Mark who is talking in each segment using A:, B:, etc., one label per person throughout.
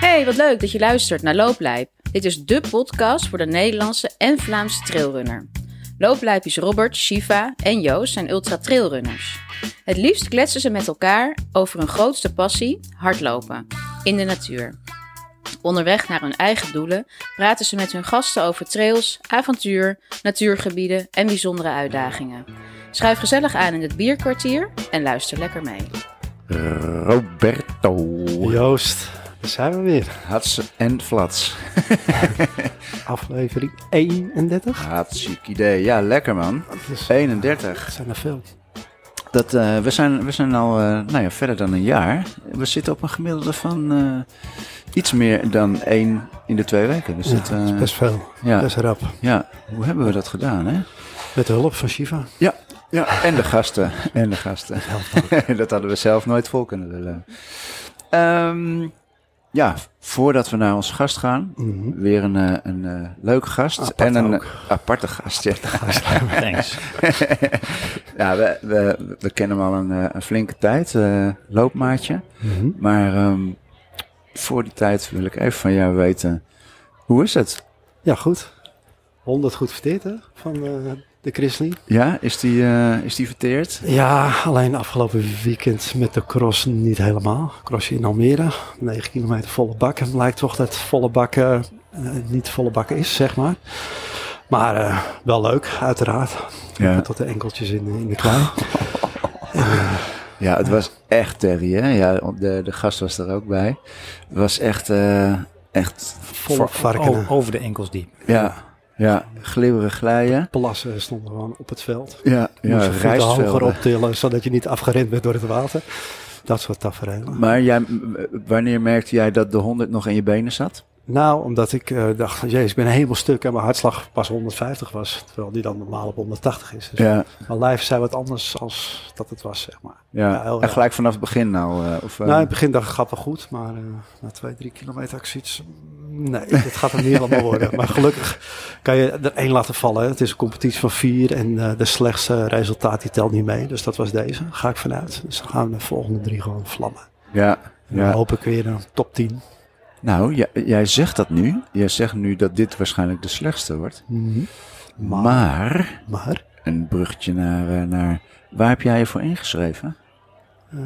A: Hey, wat leuk dat je luistert naar Looplijp. Dit is dé podcast voor de Nederlandse en Vlaamse trailrunner. Looplijpjes Robert, Shiva en Joost zijn ultra-trailrunners. Het liefst kletsen ze met elkaar over hun grootste passie, hardlopen, in de natuur. Onderweg naar hun eigen doelen praten ze met hun gasten over trails, avontuur, natuurgebieden en bijzondere uitdagingen. Schuif gezellig aan in het bierkwartier en luister lekker mee.
B: Roberto.
C: Joost, daar zijn we weer.
B: Hats en flats.
C: Aflevering 31.
B: Hartstikke idee. Ja, lekker man.
C: Dus
B: 31.
C: dat zijn er veel.
B: Dat, eh, we, zijn, we zijn al eh, nou ja, verder dan een jaar. We zitten op een gemiddelde van eh, iets meer dan één in de twee weken. Dus
C: Ja,
B: dat,
C: dat is
B: eh,
C: best veel.
B: ja,
C: Best rap.
B: ja, hoe hebben we dat gedaan, hè?
C: Met de hulp van Shiva.
B: Ja, ja. en de gasten. En de gasten. dat hadden we zelf nooit vol kunnen willen. Ehm, ja, voordat we naar onze gast gaan,
C: Mhm.
B: weer een, eh, een eh, leuke gast.
C: Apart
B: en een
C: ook.
B: eh, aparte gast. Ja,
D: Thanks.
B: ja we, we, we kennen hem al een, eh, een flinke tijd, eh, loopmaatje.
C: Mhm.
B: Maar ehm, voor die tijd wil ik even van jou weten, hoe is het?
C: Ja, goed. 100 goed verteerd, hè? Van eh, de Chrisley.
B: Ja, is die, eh, is die verteerd?
C: Ja, alleen afgelopen weekend met de cross niet helemaal. Crossje in Almere. 9 kilometer volle bak. Het lijkt toch dat volle bak eh, eh, niet volle bak is, zeg maar. Maar eh, wel leuk, uiteraard.
B: Ja,
C: Tot de enkeltjes in, in de klei.
B: ja het was echt Terry, hè? Ja, de, de gast was er ook bij. Het was echt, eh, echt
C: Volle
B: oh,
C: varkenen.
D: O- over de enkels diep.
B: Ja, ja, glibberig glijden.
C: Plassen stonden gewoon op het veld.
B: Ja, ja
C: Moest je voeten hoger
B: rijstvelden.
C: optillen, zodat je niet afgerend bent door het water. Dat soort tafereelen.
B: Maar jij, m- wanneer merkte jij dat de 100 nog in je benen zat?
C: Nou, omdat ik eh, dacht, jezus, ik ben een helemaal stuk en mijn hartslag pas 150 was. Terwijl die dan normaal op 180 is. Dus
B: Ja,
C: mijn lijf zei wat anders als dat het was, zeg maar. Ja,
B: ja.
C: heel
B: en
C: raar.
B: gelijk vanaf het begin nou? eh, of, eh,
C: Nou, in het begin dacht ik, gaat wel goed. Maar eh, na twee, drie kilometer had ik zoiets... mm, Nee, dat gaat hem niet helemaal worden. Maar gelukkig kan je er één laten vallen. hè. Het is een competitie van vier en eh, de slechtste resultaat die telt niet mee. Dus dat was deze. Ga ik vanuit. Dus dan gaan we de volgende drie gewoon vlammen.
B: ja,
C: En dan
B: ja.
C: hoop ik weer een top 10.
B: Nou, jij, jij zegt dat nu. Jij zegt nu dat dit waarschijnlijk de slechtste wordt.
C: Maar-
B: Mhm. Maar,
C: Maar
B: een bruggetje naar, eh, naar... Waar heb jij je voor ingeschreven?
C: Eh,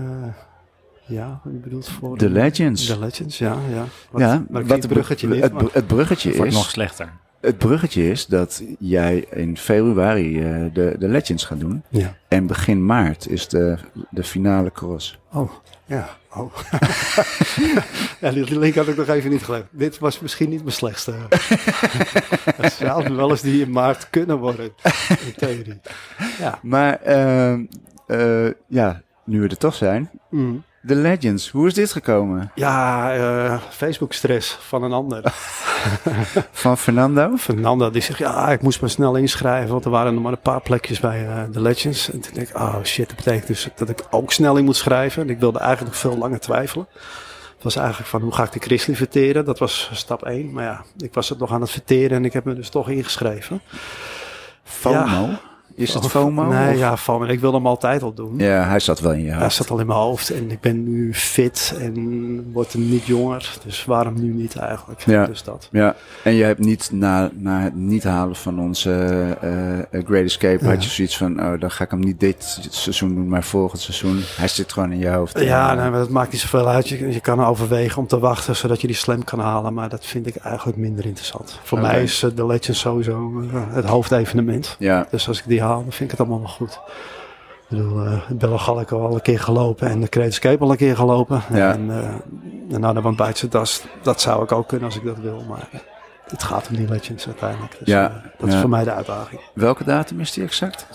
C: ja, je bedoelt voor...
B: De Legends.
C: De Legends, ja. ja.
B: ja,
C: maar
B: wat
C: ik zie het
B: de-
C: bruggetje niet.
B: het,
C: maar-
B: het bruggetje
D: Wordt
B: is...
D: nog slechter.
B: Het bruggetje is dat jij in februari eh, de, de Legends gaat doen.
C: ja.
B: En begin maart is de, de finale cross.
C: Oh, ja. Oh. ja, die die link had ik nog even niet gelegd. Dit was misschien niet mijn slechtste. Het zouden wel eens die in maart kunnen worden, in theorie. Ja.
B: Maar ehm, eh, ja, nu we er toch zijn.
C: Mm.
B: De Legends, hoe is dit gekomen?
C: Ja, Facebook-stress van een ander.
B: Van Fernando?
C: Fernanda die zegt, ja, ik moest me snel inschrijven, want er waren nog maar een paar plekjes bij eh, de Legends. En toen denk ik, oh shit, dat betekent dus dat ik ook snel in moet schrijven. En ik wilde eigenlijk nog veel langer twijfelen. Het was eigenlijk van, hoe ga ik de Chrisley verteren? Dat was stap 1. Maar ja, ik was het nog aan het verteren en ik heb me dus toch ingeschreven.
B: FOMO? Is het FOMO?
C: Nee,
B: Of-
C: ja, FOMO. Ik wilde hem altijd al doen.
B: Ja, hij zat wel in je
C: Hij
B: hoofd.
C: zat al in mijn hoofd en ik ben nu fit en word niet jonger. Dus waarom nu niet eigenlijk?
B: Ja.
C: Dus dat.
B: Ja, en je hebt niet na, na het niet halen van onze eh, eh, Great Escape, had je zoiets van, oh, dan ga ik hem niet dit seizoen doen, maar volgend seizoen. Hij zit gewoon in je hoofd.
C: Ja, nou.
B: En,
C: nee, maar dat maakt niet zoveel uit. Je, je kan overwegen om te wachten zodat je die slam kan halen. Maar dat vind ik eigenlijk minder interessant. Voor
B: Oké.
C: mij is eh, de Legend sowieso eh, het hoofdevenement.
B: Ja,
C: Dus als ik die haal, dan vind ik het allemaal wel goed. Ik bedoel, eh Bello Gallico al een keer gelopen en de Creative Escape al een keer gelopen.
B: Ja.
C: En, eh en nou, de Want Bijtse Das, dat zou ik ook kunnen als ik dat wil. Maar het gaat om die Legends uiteindelijk. Dus,
B: Ja,
C: eh, dat
B: ja.
C: is voor mij de uitdaging.
B: welke datum is die exact?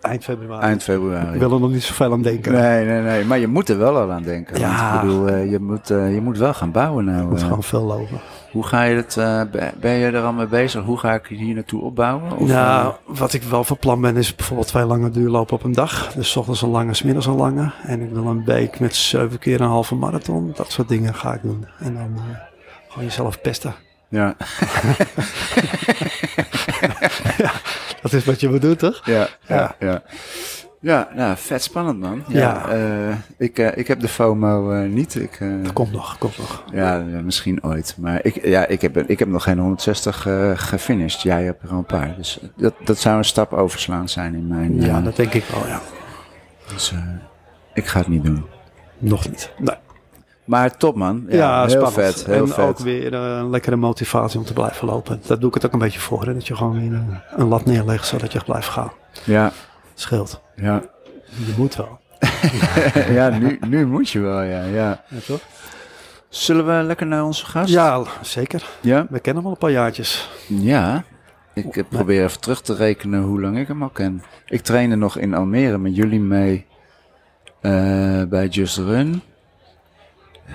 C: Eind februari.
B: Eind februari.
C: Ik wil er nog niet zoveel aan denken.
B: Nee, nee, nee. Maar je moet er wel al aan denken. Want
C: Ja.
B: Ik bedoel, eh, je, moet, eh, je moet wel gaan bouwen nou.
C: Ik moet
B: eh.
C: gewoon veel lopen.
B: Hoe ga je het, eh, ben- ben je er al mee bezig? Hoe ga ik hier naartoe opbouwen? Of, eh,
C: Nou, wat ik wel van plan ben is bijvoorbeeld twee lange duurlopen op een dag. Dus 's ochtends een lange, 's middags een lange. En ik wil een week met zeven keer een halve marathon. Dat soort dingen ga ik doen. En dan eh, gewoon jezelf pesten.
B: eh, ja.
C: Dat is wat je bedoelt, toch?
B: Ja, ja, ja.
C: Ja.
B: Ja, nou, vet spannend man.
C: Ja.
B: eh, ik, eh, ik heb de FOMO eh, niet. Ik, eh,
C: Dat komt nog, komt nog.
B: ja, ja, misschien ooit. Maar ik, ja, ik, heb, ik heb nog geen 160 eh, gefinished. Jij hebt er al een paar. Dus dat, dat zou een stap overslaan zijn in mijn...
C: Ja,
B: eh,
C: dat denk ik wel, ja.
B: dus, eh, ik ga het niet doen.
C: Nog niet. Nee.
B: Maar top man. Ja,
C: Ja,
B: heel
C: spannend.
B: vet. Heel
C: en
B: vet.
C: ook weer eh, een lekkere motivatie om te blijven lopen. Daar doe ik het ook een beetje voor. Hè? Dat je gewoon weer een, een lat neerlegt zodat je blijft gaan.
B: Ja,
C: Scheelt.
B: ja.
C: Je moet wel.
B: ja nu, nu moet je wel, ja, ja.
C: Ja, toch?
B: Zullen we lekker naar onze gast?
C: Ja, zeker.
B: Ja?
C: We kennen hem al een paar jaartjes.
B: Ja. Ik eh, probeer even terug te rekenen hoe lang ik hem al ken. Ik trainde nog in Almere met jullie mee eh, bij Just Run. Eh,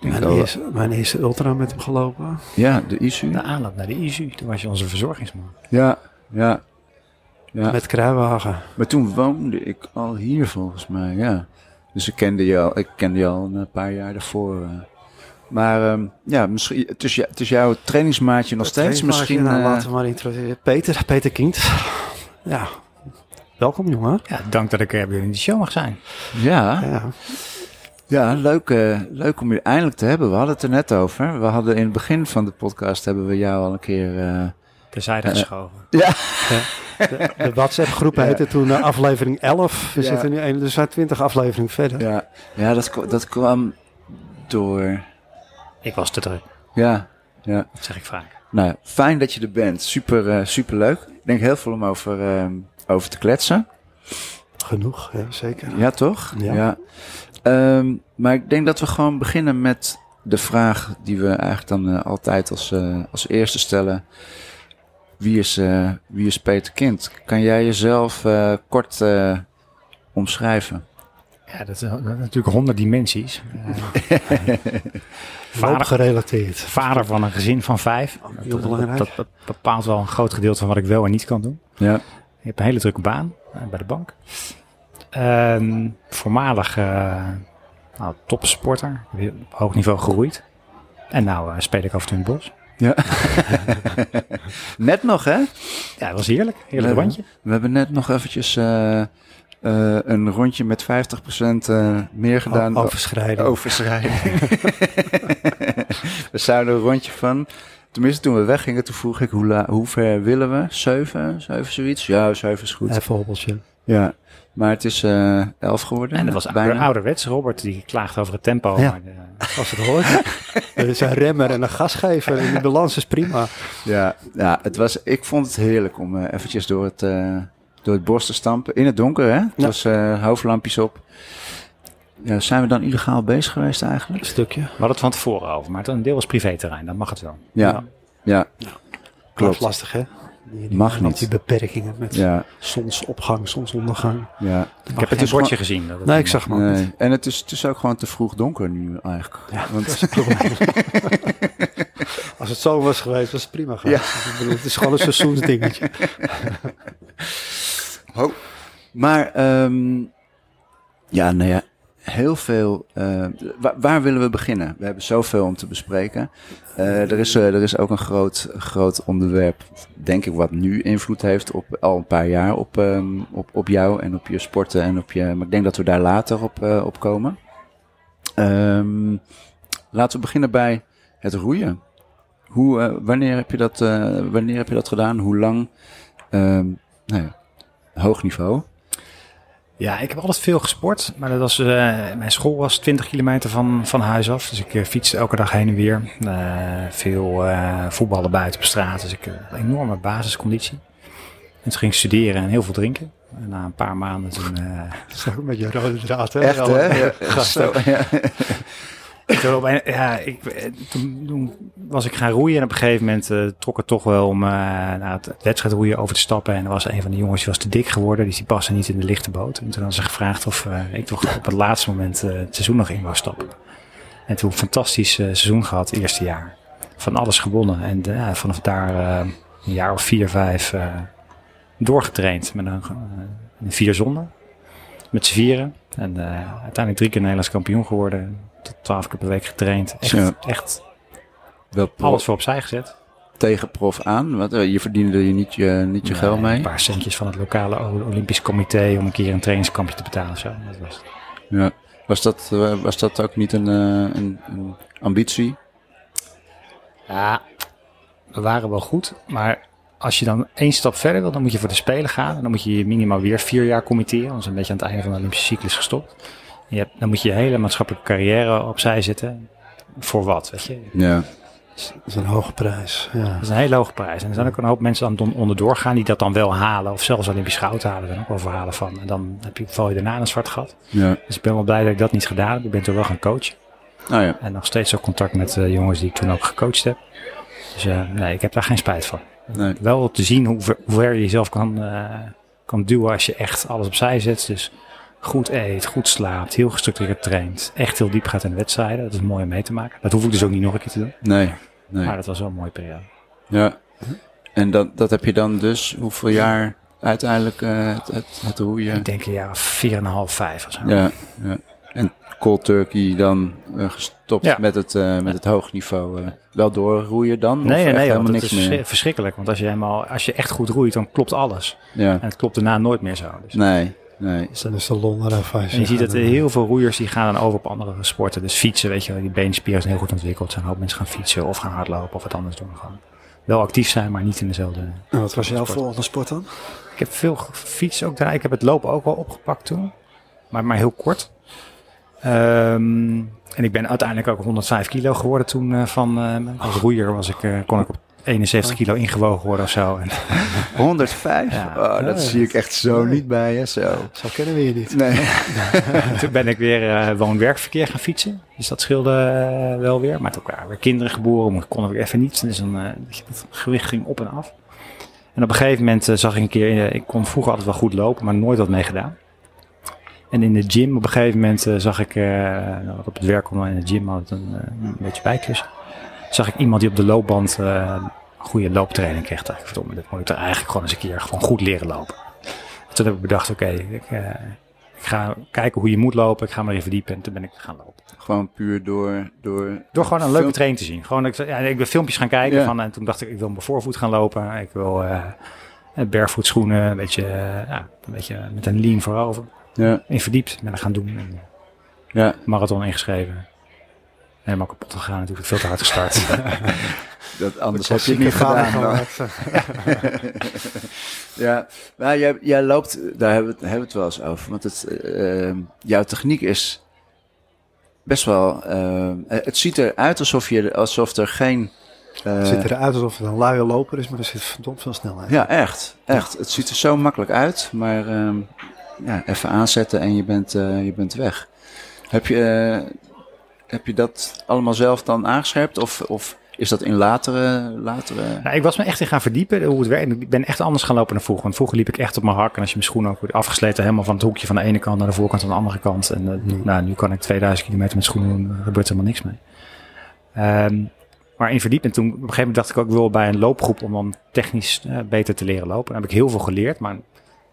B: denk
C: Mijn
B: wel-
C: eerste, mijn eerste ultra met hem gelopen.
B: Ja, de ISU.
D: De aanloop naar de ISU, toen was je onze verzorgingsman.
B: Ja, ja. Ja.
C: Met Kruiwagen.
B: Maar toen woonde ik al hier volgens mij, ja. Dus ik kende je al, ik kende je al een paar jaar daarvoor. eh. Maar ehm, ja, misschien, het, is, jou- het is jouw trainingsmaatje nog steeds.
C: Tweede plaatje,
B: Misschien,
C: nou,
B: eh,
C: laten we maar introduceren. Peter, Peter Kind. Ja. Welkom jongen.
D: Ja, dank dat ik er bij jullie in de show mag zijn.
B: ja,
C: Ja.
B: ja leuk, eh, leuk om je eindelijk te hebben. We hadden het er net over. We hadden in het begin van de podcast hebben we jou al een keer... eh,
D: Terzijde geschoven.
C: De, de WhatsApp groep heette toen eh, aflevering 11. We
B: Ja.
C: zitten nu een, dus we zijn 20 afleveringen verder.
B: ja, ja dat, kwa- dat kwam door...
D: Ik was te druk,
B: Ja, ja.
D: dat zeg ik vaak.
B: Nou, fijn dat je er bent. Super, eh, super leuk. Ik denk heel veel om over, ehm, over te kletsen.
C: Genoeg, ja, zeker.
B: Ja, toch?
C: Ja.
B: Ehm, maar ik denk dat we gewoon beginnen met de vraag die we eigenlijk dan eh, altijd als, eh, als eerste stellen. Wie is, eh, wie is Peter Kind? Kan jij jezelf eh, kort eh, omschrijven?
D: Ja, dat, is- dat is natuurlijk honderd dimensies. Eh,
C: Vader
D: vader,
C: gerelateerd.
D: vader van een gezin van vijf.
C: Heel
D: Dat,
C: belangrijk.
D: dat be- bepaalt wel een groot gedeelte van wat ik wel en niet kan doen.
B: Ja.
D: Je hebt een hele drukke baan eh, bij de bank. Ehm, voormalig eh, nou, topsporter, weer op hoog niveau geroeid. En nou eh, speel ik af en toe in het bos.
B: ja. net nog, hè?
D: Ja, dat was heerlijk. Heerlijk
B: Ja.
D: rondje.
B: We hebben net nog eventjes eh, eh, een rondje met 50% eh, meer gedaan.
C: O- overschrijding.
B: Overschrijding. Oh. we zouden een rondje van. Tenminste, toen we weggingen, toen vroeg ik hoe, la- hoe ver willen we? Zeven? Zeven zoiets? Ja, zeven is goed.
C: Even hobbeltje.
B: Ja. Maar het is eh elf geworden.
D: En dat was ouder, ouderwets Robert, die klaagde over het tempo.
C: Ja.
D: Maar, eh,
C: Als het hoort. er is een remmer en een gasgever. En de balans is prima.
B: Ja, ja het was, ik vond het heerlijk om eh, eventjes door het, eh, door het bos te stampen. In het donker, hè? Het
C: Ja.
B: was eh, hoofdlampjes op. Ja, zijn we dan illegaal bezig geweest eigenlijk?
C: Stukje.
D: we hadden het van tevoren over, maar het- een deel was privéterrein, dan mag het wel.
B: Ja,
C: Ja.
B: ja.
C: Klopt.
B: klopt.
C: lastig, hè? Die- die-
B: Mag niet.
C: Die beperkingen met
B: Ja,
C: zonsopgang, zonsondergang.
B: ja.
D: Ik heb het
B: geen
D: een bordje gezien. dat het-
C: Nee, ik zag hem ook niet.
B: Nee. En het is, het is ook gewoon te vroeg donker nu eigenlijk. Want
C: Als het zo was geweest, was het prima geweest. Ik bedoel, het is gewoon een seizoensdingetje.
B: Ho. Maar ehm, ja, nou ja, heel veel. eh, waar, waar willen we beginnen? We hebben zoveel om te bespreken. Eh, er, is, eh, er is ook een groot, groot onderwerp, denk ik, wat nu invloed heeft op al een paar jaar op, ehm, op, op jou en op je sporten en op je. Maar ik denk dat we daar later op, eh, op komen. Ehm, laten we beginnen bij het roeien. Hoe, eh, wanneer, heb je dat, eh, wanneer heb je dat gedaan? Hoe lang? Ehm, nou ja, Hoog niveau.
D: Ja, ik heb altijd veel gesport, maar dat was, eh, mijn school was 20 kilometer van, van huis af. Dus ik eh, fietste elke dag heen en weer. Eh, veel eh, voetballen buiten op straat, dus ik eh, een enorme basisconditie. En toen ging ik studeren en heel veel drinken. En na een paar maanden toen, eh,
C: Zo met je rode draad, hè?
B: Echt,
C: Ja,
B: hè? Zo, ja.
D: Toen, op een- ja, ik, eh, toen, toen was ik gaan roeien en op een gegeven moment eh, trok het toch wel om eh naar het wedstrijdroeien over te stappen. En er was een van de jongens die was te dik geworden, dus die paste niet in de lichte boot. En toen hadden ze gevraagd of eh, ik toch op het laatste moment eh, het seizoen nog in wou stappen. En toen een fantastisch eh, seizoen gehad, het eerste jaar. Van alles gewonnen en eh, ja, vanaf daar eh, een jaar of vier, vijf eh, doorgetraind met een, eh, een vier zonder. Met z'n vieren. En eh, uiteindelijk drie keer Nederlands kampioen geworden. Tot twaalf keer per week getraind. Echt,
B: Zo.
D: echt
B: Wel pro-
D: alles voor opzij gezet.
B: tegenprof aan? Want eh, je verdiende er je niet je, niet je geld mee.
D: Een paar centjes van het lokale O- Olympisch Comité om een keer een trainingskampje te betalen. of Zo. Dat was het.
B: Ja. Was, dat, eh, was dat ook niet een, eh, een, een ambitie?
D: Ja, we waren wel goed. Maar als je dan één stap verder wil, dan moet je voor de Spelen gaan. En dan moet je je minimaal weer vier jaar committeren. Dat is een beetje aan het einde van de Olympische cyclus gestopt. En je hebt, dan moet je je hele maatschappelijke carrière opzij zetten. Voor wat, weet je?
B: Ja.
C: Dat is een hoge prijs. Ja.
D: Dat is een hele hoge prijs. En er zijn ook een hoop mensen aan het onderdoor gaan die dat dan wel halen. Of zelfs Olympisch goud halen. Er zijn ook wel verhalen van. En dan heb je, val je daarna in een zwart gat.
B: ja.
D: Dus ik ben wel blij dat ik dat niet gedaan heb. Ik ben toen wel gaan coachen.
B: Nou ja.
D: En nog steeds ook contact met de jongens die ik toen ook gecoacht heb. Dus eh, nee, ik heb daar geen spijt van.
B: Nee.
D: Wel te zien hoe ver, hoe ver je jezelf kan, eh, kan duwen als je echt alles opzij zet. Dus goed eet, goed slaapt, heel gestructureerd traint. Echt heel diep gaat in de wedstrijden. Dat is mooi om mee te maken. Dat hoef ik dus ook niet nog een keer te doen.
B: Nee. nee.
D: Maar dat was wel een mooie periode.
B: Ja. En dat, dat heb je dan dus hoeveel jaar uiteindelijk eh, het, het, het roeien?
D: Ik denk een jaar of 4,5, 5 of zo.
B: Ja, ja. En cold turkey dan eh, gestopt
D: Ja.
B: met, het, eh, met het hoogniveau. eh. wel doorroeien dan? Of
D: Nee,
B: echt
D: nee, nee, want
B: helemaal
D: het
B: niks
D: is
B: meer.
D: verschri- verschrikkelijk. Want als je, helemaal, als je echt goed roeit, dan klopt alles.
B: Ja.
D: En het klopt daarna nooit meer zo. Dus.
B: Nee, nee.
C: Dus dan is de Londen ervan.
D: En je ziet dat er heel veel roeiers die gaan dan over op andere sporten. Dus fietsen, weet je wel, die beenspieren zijn heel goed ontwikkeld. Er zijn een hoop mensen gaan fietsen of gaan hardlopen of wat anders doen. Gewoon wel actief zijn, maar niet in dezelfde...
C: wat was jouw volgende sport dan?
D: Ik heb veel gefietst ook daarna. Ik heb het lopen ook wel opgepakt toen. Maar, maar heel kort. Ehm, en ik ben uiteindelijk ook 105 kilo geworden toen eh, van... eh, als roeier was ik, eh, kon ik op 71 kilo ingewogen worden of zo. En
B: 105?
D: Ja.
B: Oh, dat
C: Nee.
B: zie ik echt zo niet bij je. Zo.
C: Zo kennen we je niet.
B: Nee.
D: toen ben ik weer eh, woon-werkverkeer gaan fietsen. Dus dat scheelde eh, wel weer. Maar toen waren weer kinderen geboren, maar kon ik even niet. Dus dan, eh, weet je, dat gewicht ging op en af. En op een gegeven moment eh, zag ik een keer... eh, ik kon vroeger altijd wel goed lopen, maar nooit wat mee gedaan. En in de gym op een gegeven moment eh, zag ik... eh, nou, wat op het werk kon, in de gym had ik een, eh, een beetje bijklus. Zag ik iemand die op de loopband... eh, een goede looptraining kreeg. Dacht ik, verdomme, dat moet ik er eigenlijk gewoon eens een keer gewoon goed leren lopen. Toen heb ik bedacht, oké, ik... eh, ik ga kijken hoe je moet lopen. Ik ga maar even verdiepen. En toen ben ik gaan lopen.
B: Gewoon puur door... door
D: Door gewoon een
B: Film-
D: leuke training te zien. Gewoon, ik, ja, ik ben filmpjes gaan kijken.
B: Ja.
D: Van, en toen dacht ik, ik wil mijn voorvoet gaan lopen. Ik wil eh barefoot schoenen. Een beetje, eh, ja, een beetje met een lean voorover.
B: ja,
D: In verdiept. Ben ik gaan doen. En
B: ja.
D: marathon ingeschreven. Helemaal kapot gegaan natuurlijk. Veel te hard gestart.
B: Dat, anders heb je het niet gedaan. hoor. Ja, maar jij, jij loopt, daar hebben we, het- hebben we het wel eens over. Want het, eh, eh, jouw techniek is best wel. eh, het ziet eruit alsof, je, alsof er geen. eh,
C: Het ziet eruit alsof het een luie loper is, maar er zit verdomd veel snelheid.
B: ja, echt. Echt. Het ziet er zo makkelijk uit. Maar ehm, ja, even aanzetten en je bent, eh, je bent weg. Heb je, eh, heb je dat allemaal zelf dan aangescherpt? Of, of is dat in latere. latere...
D: Nou, ik was me echt in gaan verdiepen hoe het werkt. Ik ben echt anders gaan lopen dan vroeger. Want vroeger liep ik echt op mijn hak. En als je mijn schoenen ook wordt afgesleten, helemaal van het hoekje van de ene kant naar de voorkant van de andere kant. En eh, nou, nu kan ik 2000 kilometer met schoenen doen. Er gebeurt helemaal niks mee. Ehm, maar in verdiepen. En toen op een gegeven moment dacht ik ook, ik wil bij een loopgroep om dan technisch eh, beter te leren lopen. Daar heb ik heel veel geleerd. Maar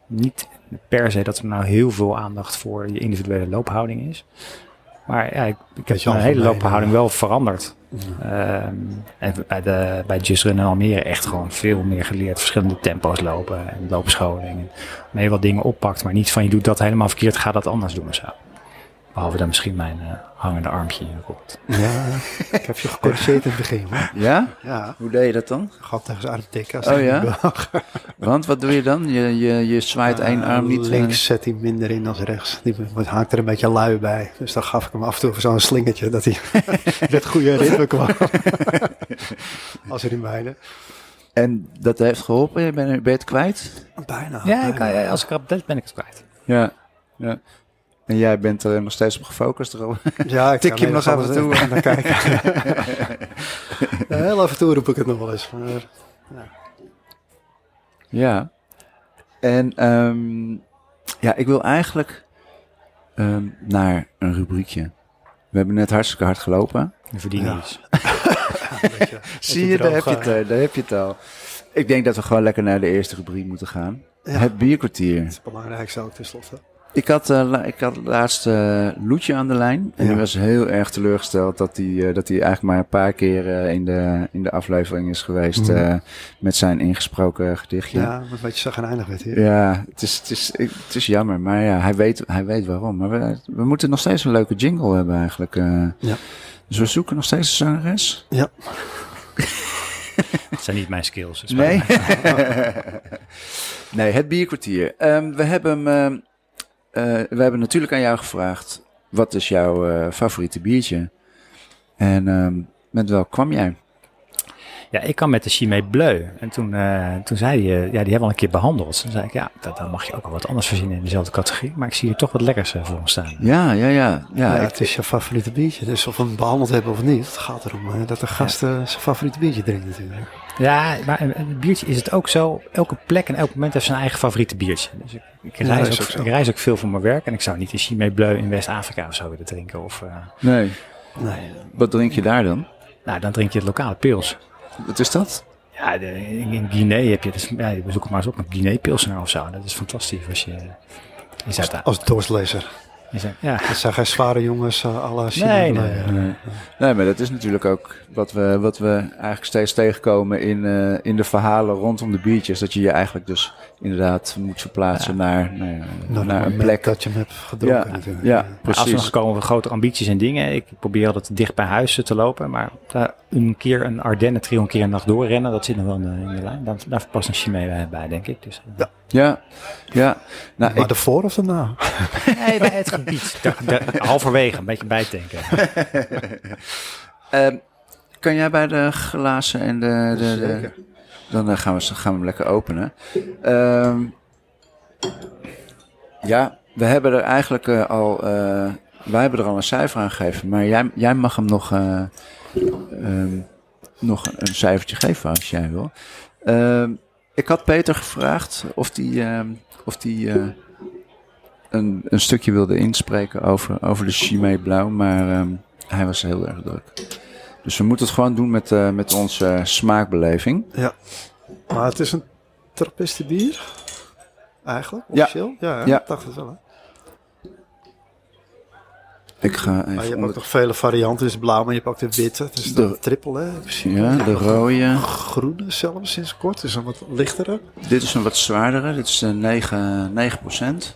D: niet per se dat er nou heel veel aandacht voor je individuele loophouding is. Maar ja, ik, ik heb
C: Beetje
D: mijn hele
C: algemeen,
D: loophouding wel veranderd. Ehm, en bij, de, bij Just Run in Almere echt gewoon veel meer geleerd. Verschillende tempo's lopen en loopscholing. En mee wat dingen oppakt, maar niet van je doet dat helemaal verkeerd, ga dat anders doen of zo. Behalve dan misschien mijn eh, hangende armpje in de kont.
C: Ja, ik heb je gecorrigeerd in het begin. hoor.
B: Ja?
C: Ja,
B: Hoe deed je dat dan?
C: gat tegen zijn armtik. als
B: Oh
C: hij
B: ja?
C: niet bewoog.
B: Want wat doe je dan? Je, je, je zwaait één arm niet eh,
C: Ah, Links zet hij minder in dan rechts. Die wordt- haakt er een beetje lui bij. Dus dan gaf ik hem af en toe zo'n slingertje dat hij in het goede ritme kwam. Als hij in beide.
B: En dat heeft geholpen? Je bent ben je het kwijt?
C: Bijna.
D: Ja, ik,
C: bijna.
D: als ik op ben ik het kwijt.
B: Ja. ja. En jij bent er nog steeds op gefocust, Robert.
C: Ja, ik
B: Tik je hem nog af en toe
C: aan naar kijken. Ja, heel af en toe roep ik het nog wel eens. Maar
B: Ja. En ehm, ja, ik wil eigenlijk ehm, naar een rubriekje. We hebben net hartstikke hard gelopen.
D: Nu verdien je
C: Ja.
D: iets.
C: een beetje-
B: Zie je, daar
C: droog,
B: heb je,
C: eh,
B: het, eh, daar heb je het al. Ik denk dat we gewoon lekker naar de eerste rubriek moeten gaan.
C: Ja.
B: Het bierkwartier.
C: Het belangrijkste ook tenslotte.
B: Ik had, eh, la- ik had laatst eh, Loetje aan de lijn. En
C: Ja.
B: die was heel erg teleurgesteld dat hij eh, dat hij eigenlijk maar een paar keer eh, in, de, in de aflevering is geweest.
C: Mhm.
B: eh, met zijn ingesproken gedichtje.
C: Ja, wat een beetje zagrijnig werd hier.
B: Ja, het is, het is, ik- het is jammer, maar ja, hij weet, hij weet waarom. Maar we, we moeten nog steeds een leuke jingle hebben eigenlijk. eh.
C: Ja.
B: Dus we zoeken nog steeds een zangeres?
C: Ja.
D: Dat zijn niet mijn skills. dat is
B: Nee.
D: waar.
B: nee, het bierkwartier. Ehm, we, hebben, ehm, eh, we hebben natuurlijk aan jou gevraagd, wat is jouw eh, favoriete biertje? En ehm, met welk kwam jij?
D: Ja, ik kan met de Chimay Bleu. En toen, eh, toen zei hij, eh, ja, die hebben we al een keer behandeld. Toen zei ik, ja, dat, dan mag je ook wel wat anders verzinnen in dezelfde categorie. Maar ik zie hier toch wat lekkers eh, voor ontstaan.
B: Ja, ja, ja. ja,
C: Ja,
B: ik-
C: het is je favoriete biertje. Dus of we hem behandeld hebben of niet, het gaat erom eh, dat de gast eh, zijn favoriete biertje drinkt natuurlijk.
D: Ja, maar een, een biertje is het ook zo. Elke plek en elk moment heeft zijn eigen favoriete biertje. Dus ik, ik,
C: Ja,
D: reis,
C: dat is
D: ook,
C: ook zo.
D: ik reis ook veel voor mijn werk. En ik zou niet een Chimay Bleu in West-Afrika of zo willen drinken. Of, eh,
B: nee.
C: Nee,
B: Wat drink je daar dan?
D: nou, dan drink je het lokale pils.
B: Wat is dat?
D: Ja, de- in, in Guinea heb je... Dus, ja, we zoeken maar eens op een Guinea-pilsner of zo. Dat is fantastisch als je... Je zat daar.
C: als dorstlezer.
D: Ja,
C: Het zijn geen zware jongens, eh, alle
D: Nee,
C: Chimay
D: nee,
C: Bleu.
B: Nee. Nee, maar dat is natuurlijk ook wat we, wat we eigenlijk steeds tegenkomen in, eh, in de verhalen rondom de biertjes. Dat je je eigenlijk dus inderdaad moet verplaatsen naar, nou ja, naar
C: Nou, het
B: een
C: moment
B: plek.
C: dat je hem hebt gedronken
B: ja,
C: natuurlijk.
B: ja,
D: Maar Als we nog
B: precies.
D: komen we grote ambities en dingen. Ik probeer altijd dicht bij huis te lopen. Maar daar een keer een Ardennen trio, een keer een nacht doorrennen. Dat zit nog wel in de, in de lijn. Daar, daar past een Chimay bij- bij, denk ik. Dus,
C: Ja.
B: Ja, ja. Nou,
C: Maar
B: ik,
C: daarvoor of daarna?
D: Nee, bij het gebied. Da- da- halverwege, een beetje bijtanken.
B: ehm, kan jij bij de glazen en de... de, de- dan eh, gaan, we, ze- gaan we hem lekker openen. Ehm, ja, we hebben er eigenlijk eh, al... eh, wij hebben er al een cijfer aan gegeven. Maar jij, jij mag hem nog, eh, ehm, nog een cijfertje geven als jij wil. Ehm, ik had Peter gevraagd of die, ehm, of die eh, een, een stukje wilde inspreken over, over de Chimay Blauw. Maar ehm, hij was heel erg druk. Dus we moeten het gewoon doen met, eh, met onze eh, smaakbeleving.
C: Maar het is een trappistenbier, eigenlijk,
B: Ja.
C: officieel. Ja, ja,
B: Ja.
C: ik dacht het wel. Hè?
B: Ik ga
C: Maar Ah, je
B: even
C: hebt ook
B: onder...
C: nog vele varianten. Dus blauw, maar je hebt ook de witte. Dus de
B: De-
C: triple, hè? in principe.
B: Ja, de rode.
C: Groene zelfs sinds kort. Dus een wat lichtere.
B: Dit is een wat zwaardere. Dit is eh, 9, 9%.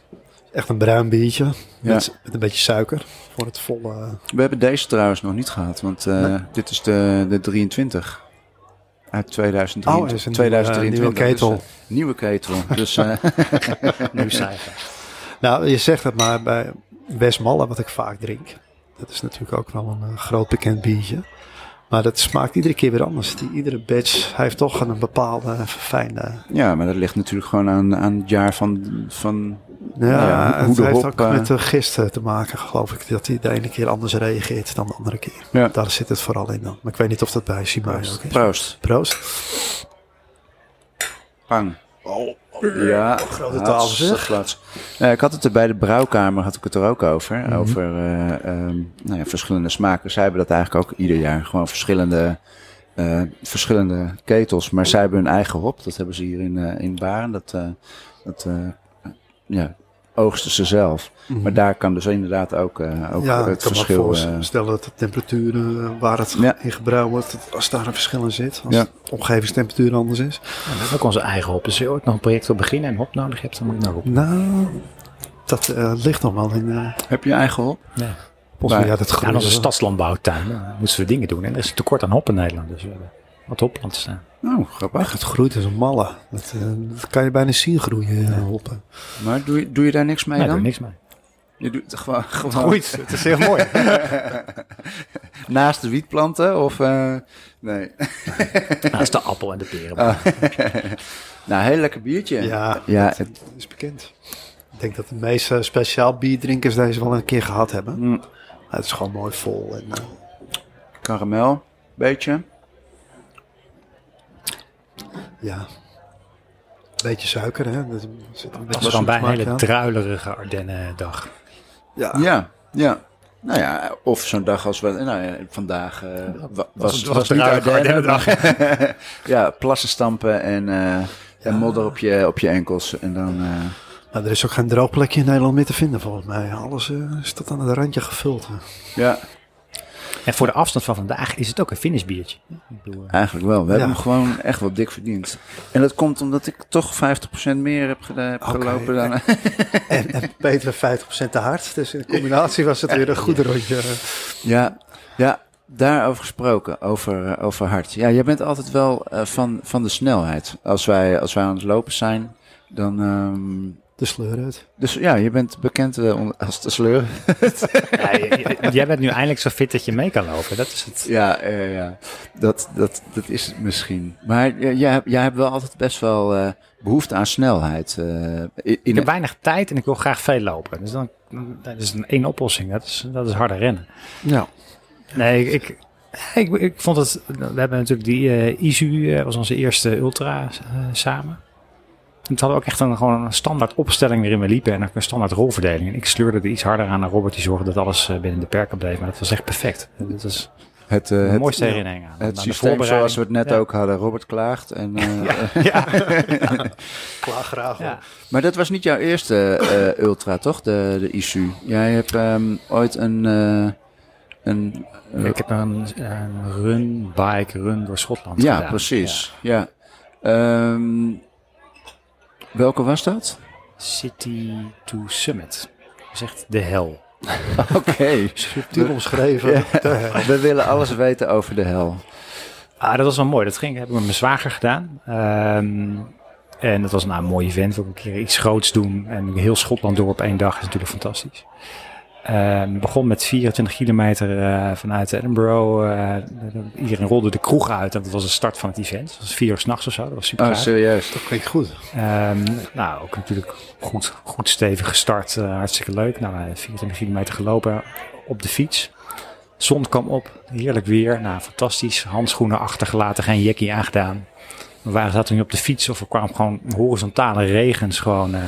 C: Echt een bruin biertje.
B: Ja.
C: Met, met een beetje suiker. Voor het volle...
B: We hebben deze trouwens nog niet gehad. Want eh, dit is de, de 23. Uit 2023.
C: Oh, er is een nieuwe, eh,
B: 2023.
C: nieuwe ketel.
B: Dus, eh, nieuwe ketel. Dus eh,
D: Nu cijfer.
C: Nou, je zegt het maar bij Westmalle, wat ik vaak drink. Dat is natuurlijk ook wel een eh, groot bekend biertje. Maar dat smaakt iedere keer weer anders. Die, iedere batch heeft toch een bepaalde eh, verfijnde...
B: ja, maar dat ligt natuurlijk gewoon aan, aan het jaar van, van...
C: Ja,
B: Nou ja, hoe- hoe
C: het
B: de
C: heeft
B: hop,
C: ook
B: eh,
C: met de gist eh, te maken, geloof ik. Dat hij de ene keer anders reageert dan de andere keer.
B: Ja.
C: Daar zit het vooral in dan. Maar ik weet niet of dat bij Simon ook is.
B: Proost.
C: Proost.
B: Pang. ja,
C: Oh, grote taal,
B: hartstikke
C: zeg.
B: plaats. Eh, ik had het er bij de brouwkamer had ik het er ook over.
C: Mhm.
B: Over eh, ehm, nou ja, verschillende smaken. Zij hebben dat eigenlijk ook ieder jaar. Gewoon verschillende, eh, verschillende ketels. Maar zij hebben hun eigen hop. Dat hebben ze hier in, eh, in Baren. Dat, eh, dat eh, ja, oogsten ze zelf. Maar daar kan dus inderdaad ook, eh, ook
C: Mhm. Ja, ik kan
B: het
C: me
B: verschil...
C: voorstellen.
B: eh,
C: Stel dat de temperaturen eh, waar het
B: Ja.
C: in gebruikt wordt, dat als daar een verschil in zit, als
B: Ja.
C: de omgevingstemperatuur anders is.
D: We hebben ook onze eigen hop. Dus als je ooit nog een project wil beginnen en hop nodig hebt, dan moet je naar hop.
C: Nou, dat eh, ligt nog wel in eh
B: heb je je eigen hop?
D: Nee.
C: ons
B: Maar-
C: ja, dat
D: Ja, en
C: groene.
D: onze stadslandbouwtuin. Dan moeten we dingen doen. En er is een tekort aan hop in Nederland. Dus we hebben wat hoppland staan. Nou,
B: Oh, grappig.
C: het groeit als een malle. Dat, eh, dat kan je bijna zien groeien, eh, hoppen.
B: Maar doe je, doe je daar niks mee
D: Nee, daar doe
B: dan?
D: ik niks mee. Nou,
B: Je doet het gewoon... gewoon...
D: Het is heel mooi.
B: Naast de wietplanten of... eh, nee.
D: Naast de appel en de peren.
B: Nou, heel lekker biertje.
C: Ja,
B: Ja,
C: dat
B: het-
C: is bekend. Ik denk dat de meeste speciaal bierdrinkers deze wel een keer gehad hebben.
B: Mm.
C: Maar het is gewoon mooi vol. En, eh,
B: karamel, beetje.
C: ja, beetje suiker, hè. Dat zit een
D: Dat
C: beetje
D: was dan bij een
C: zoetmaak
D: hele
C: aan.
D: druilerige Ardennen dag.
C: Ja,
B: Ja, ja. Nou ja, of zo'n dag als we... Nou ja, vandaag eh, wa- was, was,
D: was
B: niet
D: druilige
B: Ardennen.
D: Ardennendag.
B: ja, plassen stampen en, eh, en modder op je, op je enkels. En dan... eh,
C: Nou, er is ook geen droog plekje in Nederland meer te vinden volgens mij. Alles eh, is tot aan het randje gevuld. eh. hè.
B: Ja,
D: En voor de afstand van vandaag is het ook een finishbiertje. Ik bedoel, eh,
B: eigenlijk wel. We hebben
C: Ja.
B: hem gewoon echt wel dik verdiend. En dat komt omdat ik toch 50% meer heb, geda- heb
C: Oké.
B: gelopen dan...
C: En, en Peter 50% te hard. Dus in combinatie was het weer een goed rondje.
B: Ja, ja daarover gesproken, over, eh, over hard. Ja, jij bent altijd wel eh, van, van de snelheid. Als wij, als wij aan het lopen zijn, dan... ehm,
C: De sleur uit.
B: dus ja, je bent bekend eh, on- als de sleur.
D: ja, j- j- jij bent nu eindelijk zo fit dat je mee kan lopen. Dat is het.
B: Ja, ja, ja. Dat, dat, dat is het misschien. Maar eh, jij, hebt- jij hebt wel altijd best wel eh, behoefte aan snelheid. eh, in,
D: Ik
B: in-
D: heb weinig tijd en ik wil graag veel lopen. Dus dan, dat is een één oplossing. Dat is, dat is harder rennen.
C: Ja.
D: Nee, ik, ik, ik, ik vond het... We hebben natuurlijk die eh ISU, eh, was onze eerste ultra eh, samen. En toen hadden we ook echt een, gewoon een standaard opstelling waarin we liepen. En ook een standaard rolverdeling. En ik sleurde er iets harder aan dan Robert. Die zorgde dat alles eh, binnen de perken bleef. Maar dat was echt perfect. Dat is
B: het, eh,
D: de
B: het,
D: mooiste herinnering aan. aan.
B: het
D: de
B: systeem
D: voorbereiding.
B: zoals we het net
D: Ja.
B: ook hadden. Robert klaagt. En, eh,
C: Klaar graag.
D: Ja.
B: Maar dat was niet jouw eerste eh, ultra, toch? De, de ISU. Jij hebt ehm, ooit een, eh, een... eh,
D: Ik heb een, een run, bike, run door Schotland
B: ja,
D: gedaan.
B: precies. Ja. Ehm, welke was dat?
D: Ja. City to Summit. Dat is echt de hel.
B: Oké.
C: Subtiel omschreven. Ja.
B: We willen alles weten over de hel. Oh,
D: Ah, dat was wel mooi. Dat ging, heb ik met mijn zwager gedaan. Ehm, en dat was nou, een mooi event. Ook een keer iets groots doen. En heel Schotland door op één dag is natuurlijk fantastisch. Ehm begon met 24 kilometer eh, vanuit Edinburgh. eh, iedereen rolde de kroeg uit. En dat was de start van het event. Dat was vier uur s'nachts of zo. Dat was super
B: Oh, serieus.
C: Dat klinkt goed.
D: Ehm, nou, ook natuurlijk goed, goed stevig gestart. eh, hartstikke leuk. Nou, eh, 24 kilometer gelopen op de fiets. Zon kwam op. Heerlijk weer. Nou, fantastisch. Handschoenen achtergelaten. Geen jackie aangedaan. We waren, zaten nu op de fiets of er kwam gewoon horizontale regens gewoon... eh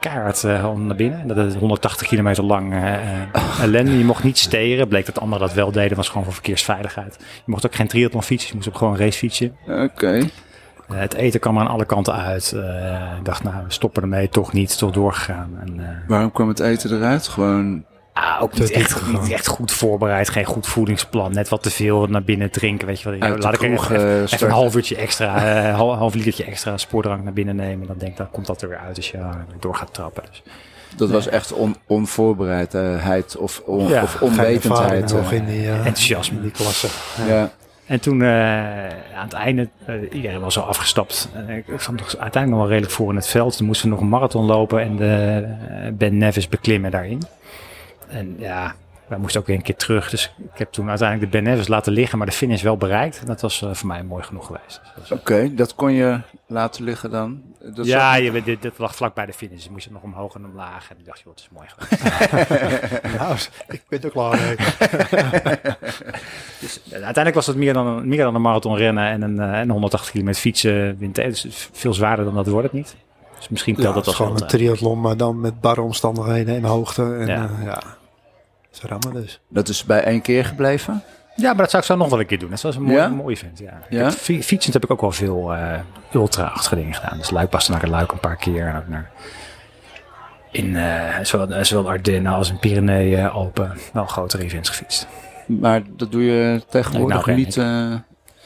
D: Kaart naar binnen. En Dat is 180 kilometer lang eh, eh, ellende. Je mocht niet steren. Bleek dat anderen dat wel deden. was gewoon voor verkeersveiligheid. Je mocht ook geen triathlon fietsen. Je moest ook gewoon racefietsen.
B: Oké.
D: Eh, het eten kwam aan alle kanten uit. Eh, ik dacht, nou, we stoppen ermee. Toch niet, toch doorgegaan. En, eh,
B: Waarom kwam het eten eruit? Gewoon...
D: ah, ook
C: Dat
D: niet
C: is
D: echt,
C: gewoon-
D: niet echt goed voorbereid. Geen goed voedingsplan. Net wat te veel naar binnen drinken. Weet je wel.
B: Uit de
D: Laat ik er
B: kroeg,
D: even,
B: eh,
D: even
B: starten.
D: een half uurtje extra, eh, hal- half, litertje extra spoordrank naar binnen nemen. Dan denk ik, dan komt dat er weer uit als je eh, door gaat trappen. Dus,
B: Dat was echt on, onvoorbereidheid of, on-
D: Ja,
B: of
C: Geen ervaring
B: onwetendheid.
C: nog in die, eh,
D: enthousiasme.
C: in die klasse.
B: ja.
D: En toen eh, aan het einde, eh, iedereen was al afgestapt. En ik kwam toch uiteindelijk nog wel redelijk voor in het veld. Toen moesten we nog een marathon lopen en de, eh, Ben Nevis beklimmen daarin. En ja, wij moesten ook weer een keer terug. Dus ik heb toen uiteindelijk de Ben Nevis laten liggen, maar de finish wel bereikt. En dat was eh, voor mij mooi genoeg geweest. Dus,
B: Oké, dat kon je laten liggen dan? Dat
D: ja, je, weet, dit, dit lag vlak bij de finish. Dus moest je nog omhoog en omlaag. En ik dacht, joh, het is mooi geweest.
C: Nou, ik ben er klaar mee.
D: Dus uiteindelijk was het meer dan, een- meer dan een marathon rennen en een, eh, en 180 kilometer fietsen. Wind, dus veel zwaarder dan dat wordt het niet. Dus misschien telt
C: Ja,
D: dat eh.
C: dat is
D: als
C: gewoon een
D: ultra.
C: triathlon, maar dan met barre omstandigheden en hoogte. En,
D: Ja.
C: ja. ja. Ze rammen dus.
B: Dat is bij één keer gebleven?
D: Ja, maar dat zou ik zo nog wel een keer doen. Dat was een mooi,
B: Ja?
D: een mooi event, ja. Ik
B: Ja?
D: heb fi- fietsend heb ik ook wel veel eh, ultra-achtige dingen gedaan. Dus Luik paste naar Luik een paar keer. En ook naar in eh, zowel, eh, zowel de Ardennen als in Pyreneeën, Alpen. Wel grotere events gefietst.
B: Maar dat doe je tegenwoordig
D: Nee, nou,
B: niet. eh,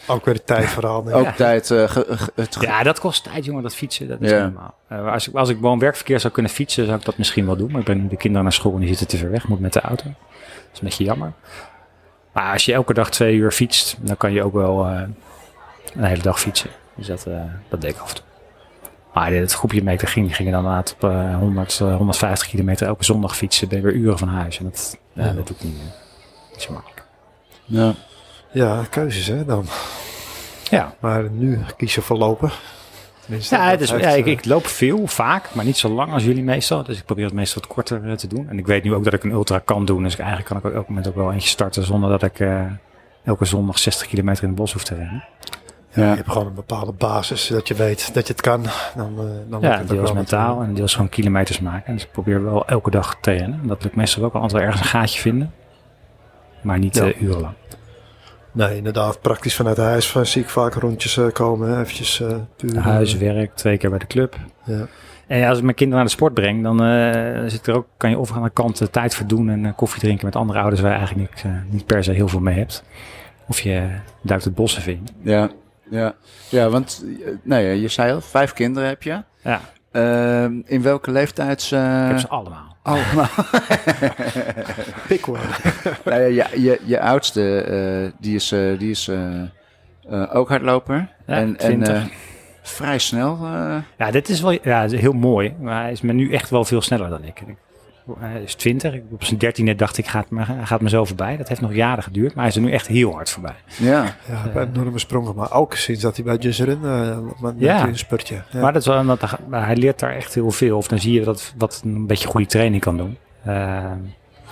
C: Ook weer de tijdverhaal. denk ik.
B: ook tijd. eh, ge- ge- het ge-
D: Ja, dat kost tijd, jongen, dat fietsen. Dat is
B: Ja.
D: niet normaal. Eh, maar als ik, als ik woon-werkverkeer zou kunnen fietsen, zou ik dat misschien wel doen. Maar ik ben de kinderen naar school en die zitten te ver weg. Moet met de auto. Dat is een beetje jammer. Maar als je elke dag twee uur fietst, dan kan je ook wel eh, een hele dag fietsen. Dus dat, eh, dat deed ik af en toe. Maar dit- het groepje mee ik daar ging, die gingen dan laat op eh, 100, eh, 150 kilometer elke zondag fietsen. Ben je weer uren van huis. En dat, ja,
C: Ja.
D: dat doe ik niet, meer. niet zo makkelijk.
B: Ja.
C: Ja, keuzes hè dan.
D: Ja,
C: Maar nu kies je voor lopen. Tenminste,
D: Ja,
C: dat
D: dus,
C: heeft,
D: ja ik,
C: eh,
D: ik loop veel, vaak, maar niet zo lang als jullie meestal. Dus ik probeer het meestal wat korter eh, te doen. En ik weet nu ook dat ik een ultra kan doen. Dus ik- eigenlijk kan ik op elk moment ook wel eentje starten zonder dat ik eh, elke zondag 60 kilometer in het bos hoef te rennen.
C: Je hebt gewoon een bepaalde basis dat je weet dat je het kan. Dan, eh dan lukt
D: Ja,
C: het ook
D: deels
C: wel
D: mentaal
C: natuurlijk.
D: en deels gewoon kilometers maken. Dus ik probeer wel elke dag te rennen. En Dat lukt meestal ook wel altijd wel ergens een gaatje vinden. Maar niet
C: Ja.
D: eh, urenlang.
C: Nee, inderdaad, praktisch vanuit huis van, zie ik vaak rondjes eh, komen. hè, Eventjes eh puur. eh,
D: Huiswerk, twee keer bij de club.
C: Ja.
D: En ja, als ik mijn kinderen naar de sport breng, dan eh, zit er ook, kan je of aan de kant de tijd voor doen en eh, koffie drinken met andere ouders waar je eigenlijk niks, eh, niet per se heel veel mee hebt. Of je eh, duikt het bos even in.
B: Ja, ja. ja want eh, nou ja, je zei al, vijf kinderen heb je.
D: Ja,
B: Ehm, in welke leeftijd ze...
D: ik heb ze allemaal.
B: allemaal.
C: Pikkel.
B: nou ja, je, je, je oudste, eh, die is, eh, die is eh, eh, ook hardloper.
D: Ja,
B: en
D: 20.
B: eh, vrij snel. eh,
D: Ja, dit is wel ja, het is heel mooi, maar hij is me nu echt wel veel sneller dan ik. Ik- Hij is 20. Ik- Op zijn dertiende dacht ik, gaat me, hij gaat me zo voorbij. Dat heeft nog jaren geduurd, maar hij is er nu echt heel hard voorbij.
B: ja.
C: Ja, bij enorme sprongen. Maar ook sinds dat hij bij Just Run eh, met- met
D: Ja.
C: een spurtje. Ja.
D: Maar dat is wel omdat hij, maar hij leert daar echt heel veel. Of dan zie je dat, wat een beetje goede training kan doen. Eh,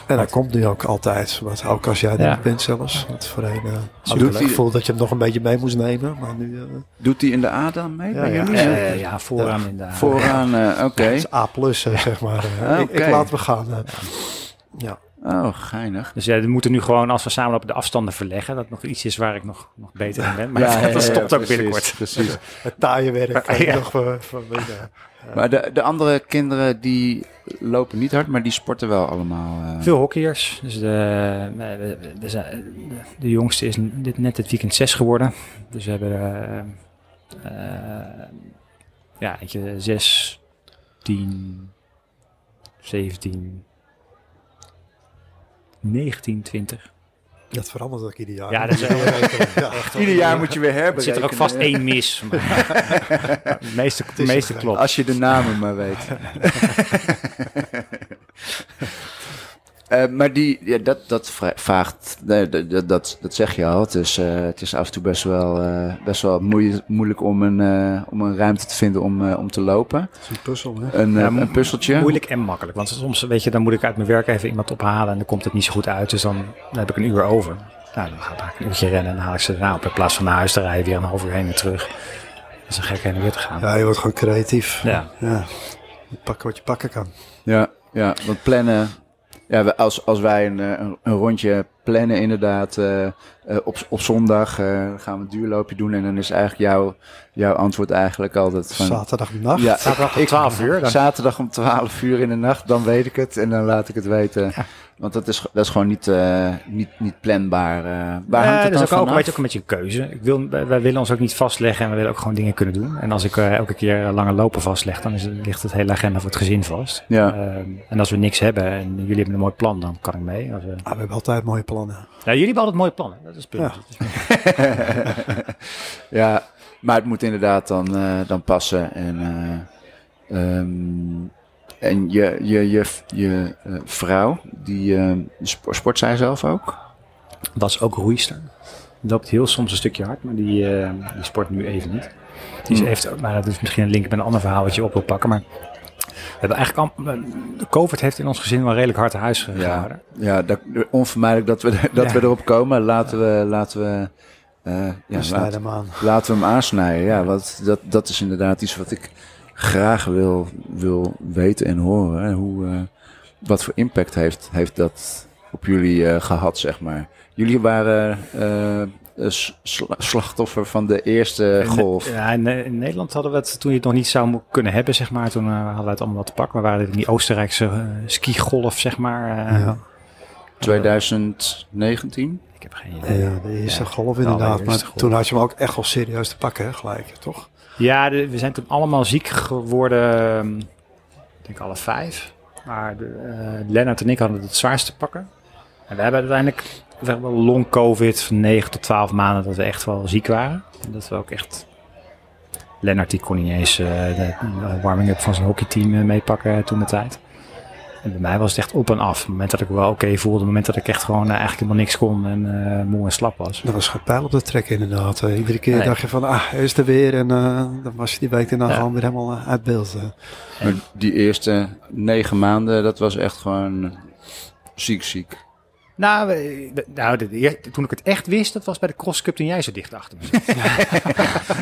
C: en hij komt nu ook altijd. Want ook als jij er
D: Ja.
C: niet bent zelfs. Want voorheen eh had
B: doet
C: ik het
B: hij-
C: gevoel dat je hem nog een beetje mee moest nemen. Maar nu eh,
B: Doet die in de A dan mee?
C: Ja,
B: bij
C: ja.
B: jullie?
D: eh, ja, vooraan in de...
B: Vooraan, eh, oké.
C: het is A+, plus, eh, zeg maar. eh.
B: Ah,
C: ik, ik
B: oké.
C: laat me gaan. eh. ja.
B: Oh, geinig.
D: Dus ja, we moeten nu gewoon, als we samen op de afstanden verleggen, dat nog iets is waar ik nog, nog beter in ben. Maar
B: Ja,
D: dat,
B: ja, ja,
D: stopt ook
B: precies,
D: binnenkort.
B: Precies.
C: Het taaie werk. eh,
D: Ja.
C: nog, eh, van binnen.
B: Maar de, de andere kinderen die lopen niet hard, maar die sporten wel allemaal. eh.
D: Veel hockeyers. Dus de, eh, er zijn- de jongste is dit, net dit weekend zes geworden. Dus we hebben eh, eh, ja, weet je, zes, tien, zeventien, negentien, twintig.
C: Dat verandert ook ieder jaar.
D: Ja, dat is wel-
C: Ja.
B: Ieder jaar moet je weer
D: Er
B: herberekenen.
D: zit er ook vast één mis. Maar de meeste, de
C: is
D: meeste
C: een
D: klopt.
B: Als je de namen maar weet. Eh, maar die, ja, dat, dat vra- vaagt, nee, dat, dat- dat, dat zeg je al. Het is, eh, het is af en toe best wel, eh, best wel moeie- moeilijk om een, eh, om een ruimte te vinden om, eh, om te lopen.
C: Het is een puzzel, hè?
B: Een, eh,
D: Ja, mo-
B: een puzzeltje.
D: Moeilijk en makkelijk. Want soms, weet je, dan moet ik uit mijn werk even iemand ophalen en dan komt het niet zo goed uit. Dus dan, dan heb ik een uur over. Nou, dan ga ik een uurtje rennen en dan haal ik ze daarna op. In plaats van naar huis te rijden, weer een half uur heen en terug. Dat is een gek heen en weer te gaan. Ja.
C: Ja, je wordt gewoon creatief.
D: Ja.
C: Ja. Je pakt wat je pakken kan.
B: Ja, ja, want plannen. Ja, we- als, als wij een, eh, een, een rondje plannen, inderdaad. eh, eh, op, op zondag eh, gaan we een duurloopje doen. En dan is eigenlijk jouw, jouw antwoord eigenlijk altijd van.
C: Zaterdagnacht.
B: Ja,
D: Zaterdag om 12 uur. Dan,
B: zaterdag om 12 uur in de nacht, dan weet ik het en dan laat ik het weten. Want dat is, dat is gewoon niet, eh, niet, niet planbaar. eh. waar hangt
D: Eh,
B: het dan
D: dat is ook, ook,
B: vanaf?
D: weet je, ook een beetje een keuze. Ik wil, wij wij willen ons ook niet vastleggen en we willen ook gewoon dingen kunnen doen. En als ik eh, elke keer eh, lange lopen vastleg, dan is, het- ligt het hele agenda voor het gezin vast.
B: Ja.
D: Ehm, en als we niks hebben en jullie hebben een mooi plan, dan kan ik mee. Als we-
C: Ah, we hebben altijd mooie plannen.
D: nou, jullie hebben altijd mooie plannen. Dat is het punt.
C: Ja.
D: Dat is-
B: ja, maar het moet inderdaad dan, eh, dan passen. En, eh, ehm, en je, je, je, je eh, vrouw, die eh, spo- sport zij zelf ook?
D: was ook roeister. Loopt heel soms een stukje hard, maar die, eh, die sport nu even niet. Die is-
B: Hmm.
D: heeft, ook- maar dat is misschien een link met een ander verhaal wat je op wil pakken. Maar we hebben eigenlijk al, de COVID heeft in ons gezin wel redelijk hard te huis gehouden.
B: ja dat, onvermijdelijk dat, we, dat
D: Ja.
B: we erop komen. Laten we... Laten we eh, ja,
C: Ja,
B: laten-
C: snijd hem aan.
B: Laten we hem aansnijden. Ja, want dat, dat is inderdaad iets wat ik graag wil, wil weten en horen. hè. Hoe, eh, wat voor impact heeft, heeft dat op jullie eh, gehad, zeg maar? Jullie waren eh, eh, s- sla- slachtoffer van de eerste
D: In-
B: golf.
D: Ja, in, eh, in Nederland hadden we het toen je het nog niet zou mo- kunnen hebben, zeg maar. Toen eh, hadden we het allemaal wat te pakken. We waren in die Oostenrijkse eh, skigolf, zeg maar. eh.
C: Ja.
B: 2019?
D: Ik heb geen idee.
C: Ja, de eerste golf
D: de
C: inderdaad.
D: allereerste
C: Maar
D: golf.
C: toen had je hem ook echt wel serieus te pakken, hè, gelijk, toch?
D: Ja, de- we zijn toen allemaal ziek geworden. ehm, Ik denk alle vijf. Maar de, eh, Lennart en ik hadden het het zwaarst te pakken. En we hebben uiteindelijk we hebben wel long covid van 9 tot 12 maanden dat we echt wel ziek waren. En dat we ook echt... Lennart die kon niet eens eh, de eh, warming-up van zijn hockeyteam eh, meepakken toen de tijd. En bij mij was het echt op en af. Op het moment dat ik me wel oké voelde, op het moment dat ik echt gewoon eh, eigenlijk helemaal niks kon en eh, moe en slap was.
C: Dat was geen pijl op de trek inderdaad. Eh, Iedere keer
D: Nee.
C: dacht je van, ah, hij is er weer. En eh, dan was je die week daarna
D: Ja.
C: gewoon weer helemaal eh, uit beeld. eh.
B: Maar die eerste negen maanden, dat was echt gewoon ziek, ziek.
D: Nou, we- we- nou de, de eer- toen ik het echt wist, dat was bij de Cross Cup toen jij zo dicht achter me zat.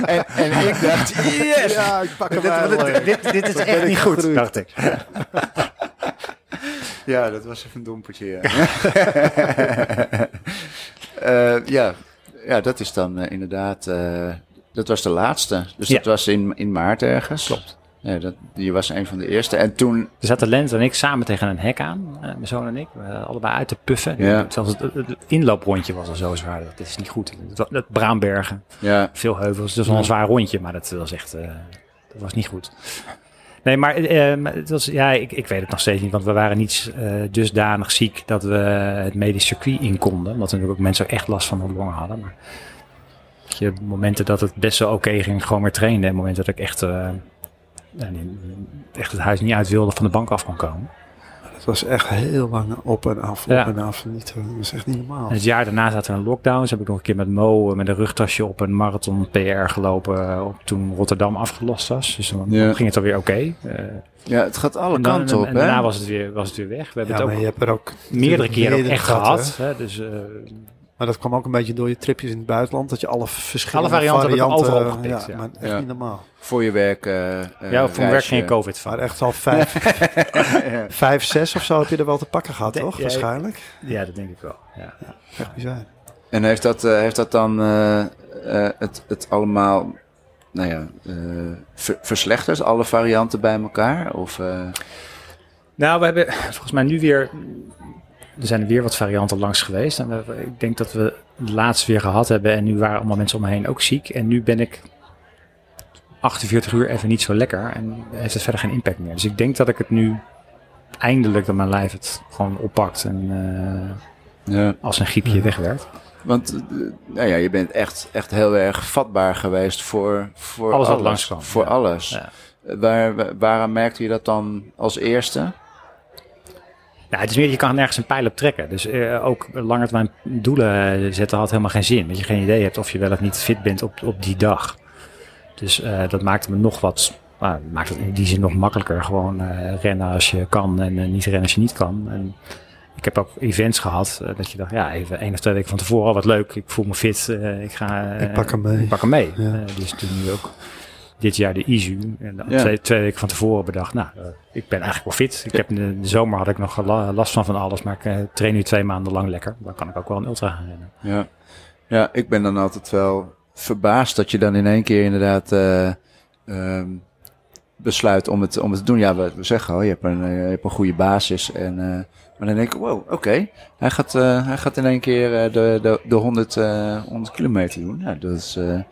B: En, en ik dacht, yes!
C: Ja, ik pak hem
D: dit,
C: wel, eh.
D: dit, dit, dit is echt niet goed, dacht ik.
B: Ja, dat was even een dompertje, ja. Eh, ja. ja, dat is dan eh, inderdaad. eh, dat was de laatste. Dus
D: Ja.
B: dat was in, in maart ergens. Klopt. Ja, dat, die was een van de eerste. En toen.
D: Er zaten Lens en ik samen tegen een hek aan, eh, mijn zoon en ik, eh, allebei uit te puffen.
B: Ja.
D: Zelfs het, het- het inlooprondje was al zo zwaar, dat is niet goed. Dat, dat Braambergen,
B: Ja,
D: veel heuvels, dat was wel een zwaar rondje, maar dat was echt, eh, dat was niet goed. Nee, maar eh, maar het was, ja, ik, ik weet het nog steeds niet, want we waren niet eh, dusdanig ziek dat we het medisch circuit in konden. Omdat er natuurlijk ook mensen echt last van hun longen hadden. Maar weet je, momenten dat het best wel oké ging, gewoon weer trainen. En momenten dat ik echt, eh, nou, niet- echt het huis niet uit wilde, van de bank af kon komen.
C: Het was echt heel lang op en af, op
D: Ja.
C: en af. Niet, eh, dat is echt niet normaal.
D: En het jaar daarna zaten we in lockdowns. Heb ik nog een keer met Mo eh, met een rugtasje op een marathon PR gelopen. eh, op, toen Rotterdam afgelost was. Dus dan
B: Ja.
D: dan ging het alweer oké.
C: Oh,
D: Eh,
B: ja het gaat alle
D: en, dan-
B: kanten
D: en-
B: op.
D: en
B: hè?
D: daarna was het, weer, was het weer weg. We hebben
C: Ja,
D: het
C: maar
D: ook
C: je hebt er ook
D: meerdere keren ook
C: meerdere
D: echt
C: gehad,
D: gehad. Hè? Dus, eh,
C: Maar dat kwam ook een beetje door je tripjes in het buitenland. Dat je alle verschillende
D: Alle varianten heb ik overal
C: eh,
D: gepikt, ja.
C: Maar echt
B: Ja.
C: niet normaal.
B: Voor je werk. eh, eh,
D: ja, voor mijn werk
B: reisje.
D: ging ik COVID
C: Maar
D: van.
C: echt al vijf, vijf, zes of zo heb je er wel te pakken gehad,
D: Denk
C: toch?
D: jij-
C: Waarschijnlijk.
D: Ja, dat denk ik wel. Ja.
C: Echt bizar.
B: En heeft dat, eh, heeft dat dan eh, eh, het, het allemaal. Nou ja, eh, ver- verslechterd, alle varianten bij elkaar? Of, eh,
D: Nou, we hebben volgens mij nu weer. Er zijn weer wat varianten langs geweest. En we- ik denk dat we het laatst weer gehad hebben. En nu waren allemaal mensen om me heen ook ziek. En nu ben ik 48 uur even niet zo lekker. En heeft het verder geen impact meer. Dus ik denk dat ik het nu eindelijk dat mijn lijf het gewoon oppakt. En eh,
B: ja.
D: als een griepje wegwerkt.
B: Want eh, nou ja, je bent echt, echt heel erg vatbaar geweest voor, voor
D: Alles wat langskwam,
B: Voor
D: ja.
B: alles.
D: Ja.
B: Eh, Waar, wa- waaraan merkte je dat dan als eerste?
D: Nou, het is meer, je kan nergens een pijl op trekken. Dus eh, ook langer termijn doelen eh, zetten had helemaal geen zin. Dat je geen idee hebt of je wel of niet fit bent op, op die dag. Dus eh, dat maakt me nog wat. nou, maakt het in die zin nog makkelijker. Gewoon eh, rennen als je kan en eh, niet rennen als je niet kan. En ik heb ook events gehad eh, dat je dacht, ja, even één of twee weken van tevoren, oh, wat leuk, ik voel me fit, eh, ik ga. eh,
C: Ik pak hem mee.
D: ik pak hem mee.
C: Ja.
D: Eh, dus toen nu ook dit jaar de ISU. En dan
B: Ja.
D: twee, twee weken van tevoren bedacht, nou, eh, ik ben eigenlijk wel fit. Ik heb in de, de zomer had ik nog la- last van van alles, maar ik eh, train nu twee maanden lang lekker. Dan kan ik ook wel een ultra gaan rennen.
B: Ja. ja, ik ben dan altijd wel verbaasd dat je dan in één keer inderdaad eh, ehm, besluit om het, om het te doen. Ja, we, we zeggen al, je hebt een, eh, je hebt een goede basis. En, eh, maar dan denk ik, wow, oké, hij, gaat, eh, hij gaat in één keer eh, de, de, de 100, eh, 100 kilometer doen. Nou, dat is... eh, eh,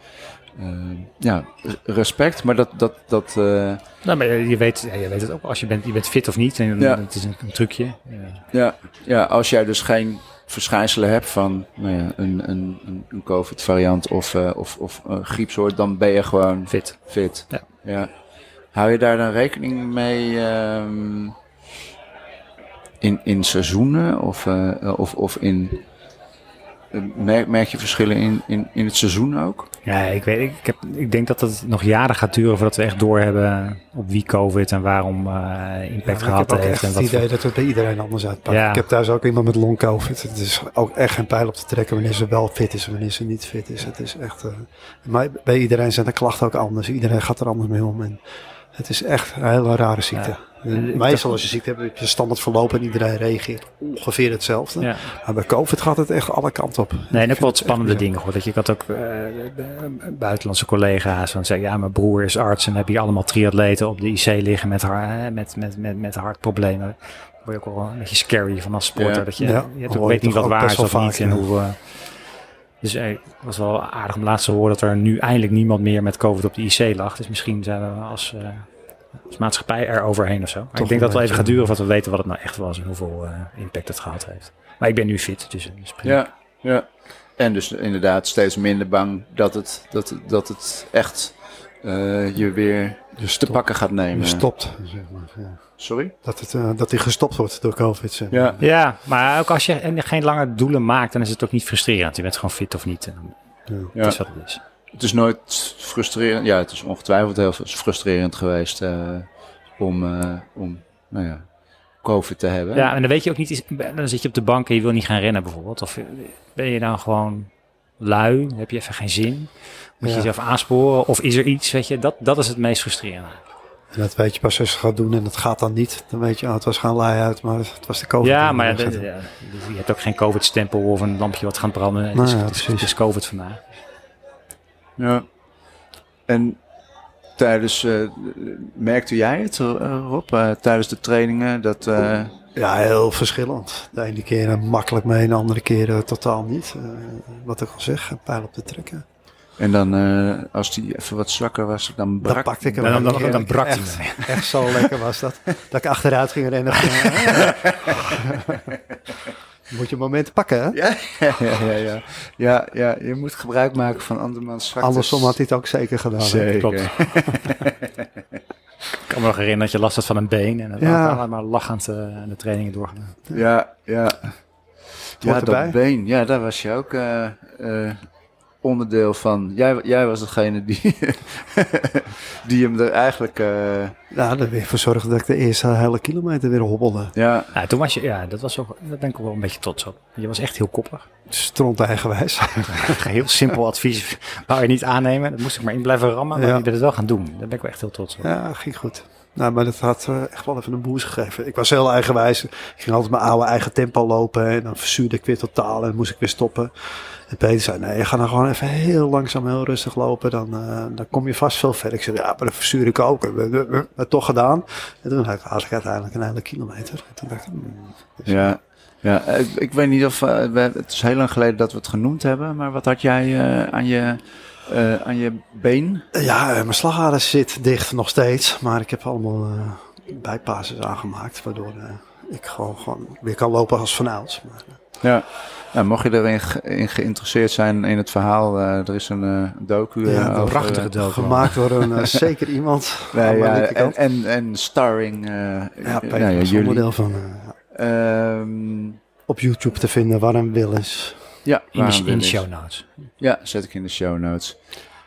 B: ja, respect, maar dat, dat, dat, eh,
D: Nou, maar je je weet, ja, je weet het ook, als je bent, je bent fit of niet, en,
B: Ja.
D: het is een, een trucje. Eh,
B: Ja, ja, als jij dus geen verschijnselen hebt van nou ja, een, een, een- een COVID-variant of, eh, of, of een griepsoort, dan ben je gewoon
D: fit.
B: fit.
D: Ja.
B: Hou je daar dan rekening mee ehm, in, in seizoenen of, eh, of, of in. Merk, merk je verschillen in, in, in het seizoen ook?
D: Ja, ik, weet, ik, ik heb, ik denk dat het nog jaren gaat duren voordat we echt doorhebben op wie COVID en waarom eh,
C: Ja,
D: impact
C: maar ik
D: gehad
C: heb ook
D: heeft.
C: echt
D: en
C: het
D: wat voor-
C: idee dat het bij iedereen anders uitpakt.
D: Ja.
C: Ik heb thuis ook iemand met long covid. Het is ook echt geen pijl op te trekken wanneer ze wel fit is en wanneer ze niet fit is. Het is echt, eh, maar bij iedereen zijn de klachten ook anders. Iedereen gaat er anders mee om. En het is echt een hele rare ziekte. En Meestal als je ziekte hebt, heb je standaard verloop en iedereen reageert ongeveer hetzelfde.
D: Ja.
C: Maar bij covid gaat het echt alle kanten op.
D: Nee, en ook wel wat spannende
C: bizar.
D: dingen hoor. Dat je ik had ook eh, buitenlandse collega's van zeggen, ja, mijn broer is arts en dan heb je allemaal triatleten op de IC liggen met, har- eh, met, met, met, met hartproblemen. Dan word je ook wel een beetje scary van als sporter.
B: Ja.
D: Dat je,
C: Ja,
D: je,
C: hoor
D: hebt ook-
C: je
D: weet niet
C: toch
D: wat
C: ook
D: waar
C: best
D: is
C: wel
D: of
C: vaak,
D: niet. En
C: ja.
D: hoe, eh, dus eh, het was wel aardig om laatst te horen dat er nu eindelijk niemand meer met COVID op de IC lag. Dus misschien zijn we als, eh, als maatschappij er overheen of zo. Maar
C: een
D: ik denk dat het wel
C: beetje.
D: even gaat duren voordat we weten wat het nou echt was en hoeveel eh, impact het gehad heeft. Maar ik ben nu fit, dus dat is prima.
B: Ja, ja. En dus inderdaad steeds minder bang dat het, dat, het- dat het echt eh, je weer te pakken gaat
C: Je
B: nemen.
C: stopt, zeg maar. Ja.
B: Sorry?
C: Dat, het, eh, dat die gestopt wordt door covid. zeg maar.
B: Ja,
D: Ja, maar ook als je en- geen lange doelen maakt, dan is het ook niet frustrerend. Je bent gewoon fit of niet. En dan-
C: Ja.
B: ja.
D: Het is wat het is.
B: het is nooit frustrerend. Ja, het is ongetwijfeld heel frustrerend geweest eh, om, eh, om nou ja, COVID te hebben.
D: Ja, en dan weet je ook niet, is- dan zit je op de bank en je wil niet gaan rennen bijvoorbeeld. Of ben je dan gewoon lui? Heb je even geen zin? Moet je
C: Ja.
D: jezelf aansporen? Of is er iets, weet je? Dat, dat is het meest frustrerende.
C: En dat weet je pas als je het gaat doen en dat gaat dan niet. Dan weet je, oh, het was gaan laai uit, maar het was de COVID.
D: Ja,
C: die
D: maar ja,
C: erin
D: dat-
C: zat.
D: ja, dus je hebt ook geen COVID-stempel of een lampje wat gaat branden. Het
C: Nou
D: is,
C: ja,
D: het is-
C: precies.
D: het is COVID vandaag.
B: Ja. En tijdens, eh, merkte jij het eh, Rob, eh, tijdens de trainingen, dat... eh,
C: Ja, heel verschillend. De ene keer eh, makkelijk mee, de andere keer eh, totaal niet. Eh, wat ik al zeg, een pijl op de trekken.
B: en dan eh, als die even wat zwakker was, dan
C: Dan
B: brak...
C: pakte ik hem.
D: Dan, dan,
C: een
D: dan,
C: keer.
D: dan brak
C: echt,
D: hij.
C: echt zo lekker was dat. Dat ik achteruit ging rennen. Moet je momenten pakken, hè?
B: Ja, ja, ja, ja. ja, ja, je moet gebruik maken van andermans zwaktes.
C: Andersom had hij het ook zeker gedaan. hè?
B: Zeker.
D: Klopt. Ik kan me nog herinneren dat je last had van een been. En dat
C: Ja.
D: ja. maar lachend eh, aan de trainingen doorgedaan.
B: Ja, ja. Ja,
C: erbij.
B: dat been. Ja, daar was je ook eh, eh, onderdeel van. Jij, jij was degene die, die hem er eigenlijk... eh,
C: Nou, dat weer voor zorgen dat ik de eerste hele kilometer weer hobbelde.
B: ja,
D: Ja, toen was je, ja, dat was ook, daar ben ik ook wel een beetje trots op. Je was echt heel koppig.
C: Stront eigenwijs.
D: Heel simpel advies wou je niet aannemen. Dat moest ik maar in blijven rammen. Maar
C: Ja.
D: je bent het wel gaan doen. Daar ben ik wel echt heel trots op.
C: Ja, ging goed. Nou, maar dat had eh, echt wel even een boost gegeven. Ik was heel eigenwijs. Ik ging altijd mijn oude eigen tempo lopen. En dan verzuurde ik weer totaal. En moest ik weer stoppen. En Peter zei, nee, ga nou gewoon even heel langzaam, heel rustig lopen. Dan, eh, dan kom je vast veel verder. Ik zei, ja, maar dan verzuur ik ook. Maar toch gedaan. En toen had ik, had ik uiteindelijk een hele kilometer. En toen dacht ik, hmm, dus-
B: ja. ja. Ik, ik weet niet of... eh, we, het is heel lang geleden dat we het genoemd hebben. Maar wat had jij eh, aan, je, eh, aan je been?
C: Ja, eh, mijn slagader zit dicht nog steeds. Maar ik heb allemaal eh bypasses aangemaakt. Waardoor eh, ik gewoon, gewoon weer kan lopen als vanouds. Maar, eh,
B: Ja. Nou, mocht je erin ge- in geïnteresseerd zijn in het verhaal, eh, er is een eh, docu. eh,
C: Ja,
B: over,
D: prachtige
B: eh,
D: docu.
C: Gemaakt door een eh, zeker iemand.
B: Nee,
C: Maar
B: ja,
C: niet
B: en,
C: gekant.
B: en, en starring. eh
C: ja,
B: eh,
C: Peter
B: nou ja,
C: is
B: jullie.
C: onderdeel van eh,
B: Ehm,
C: op YouTube te vinden, warm Willens.
B: ja,
D: In de,
B: waarom
D: in
B: wil
D: de
B: ik?
D: show notes.
B: Ja, zet ik in de show notes.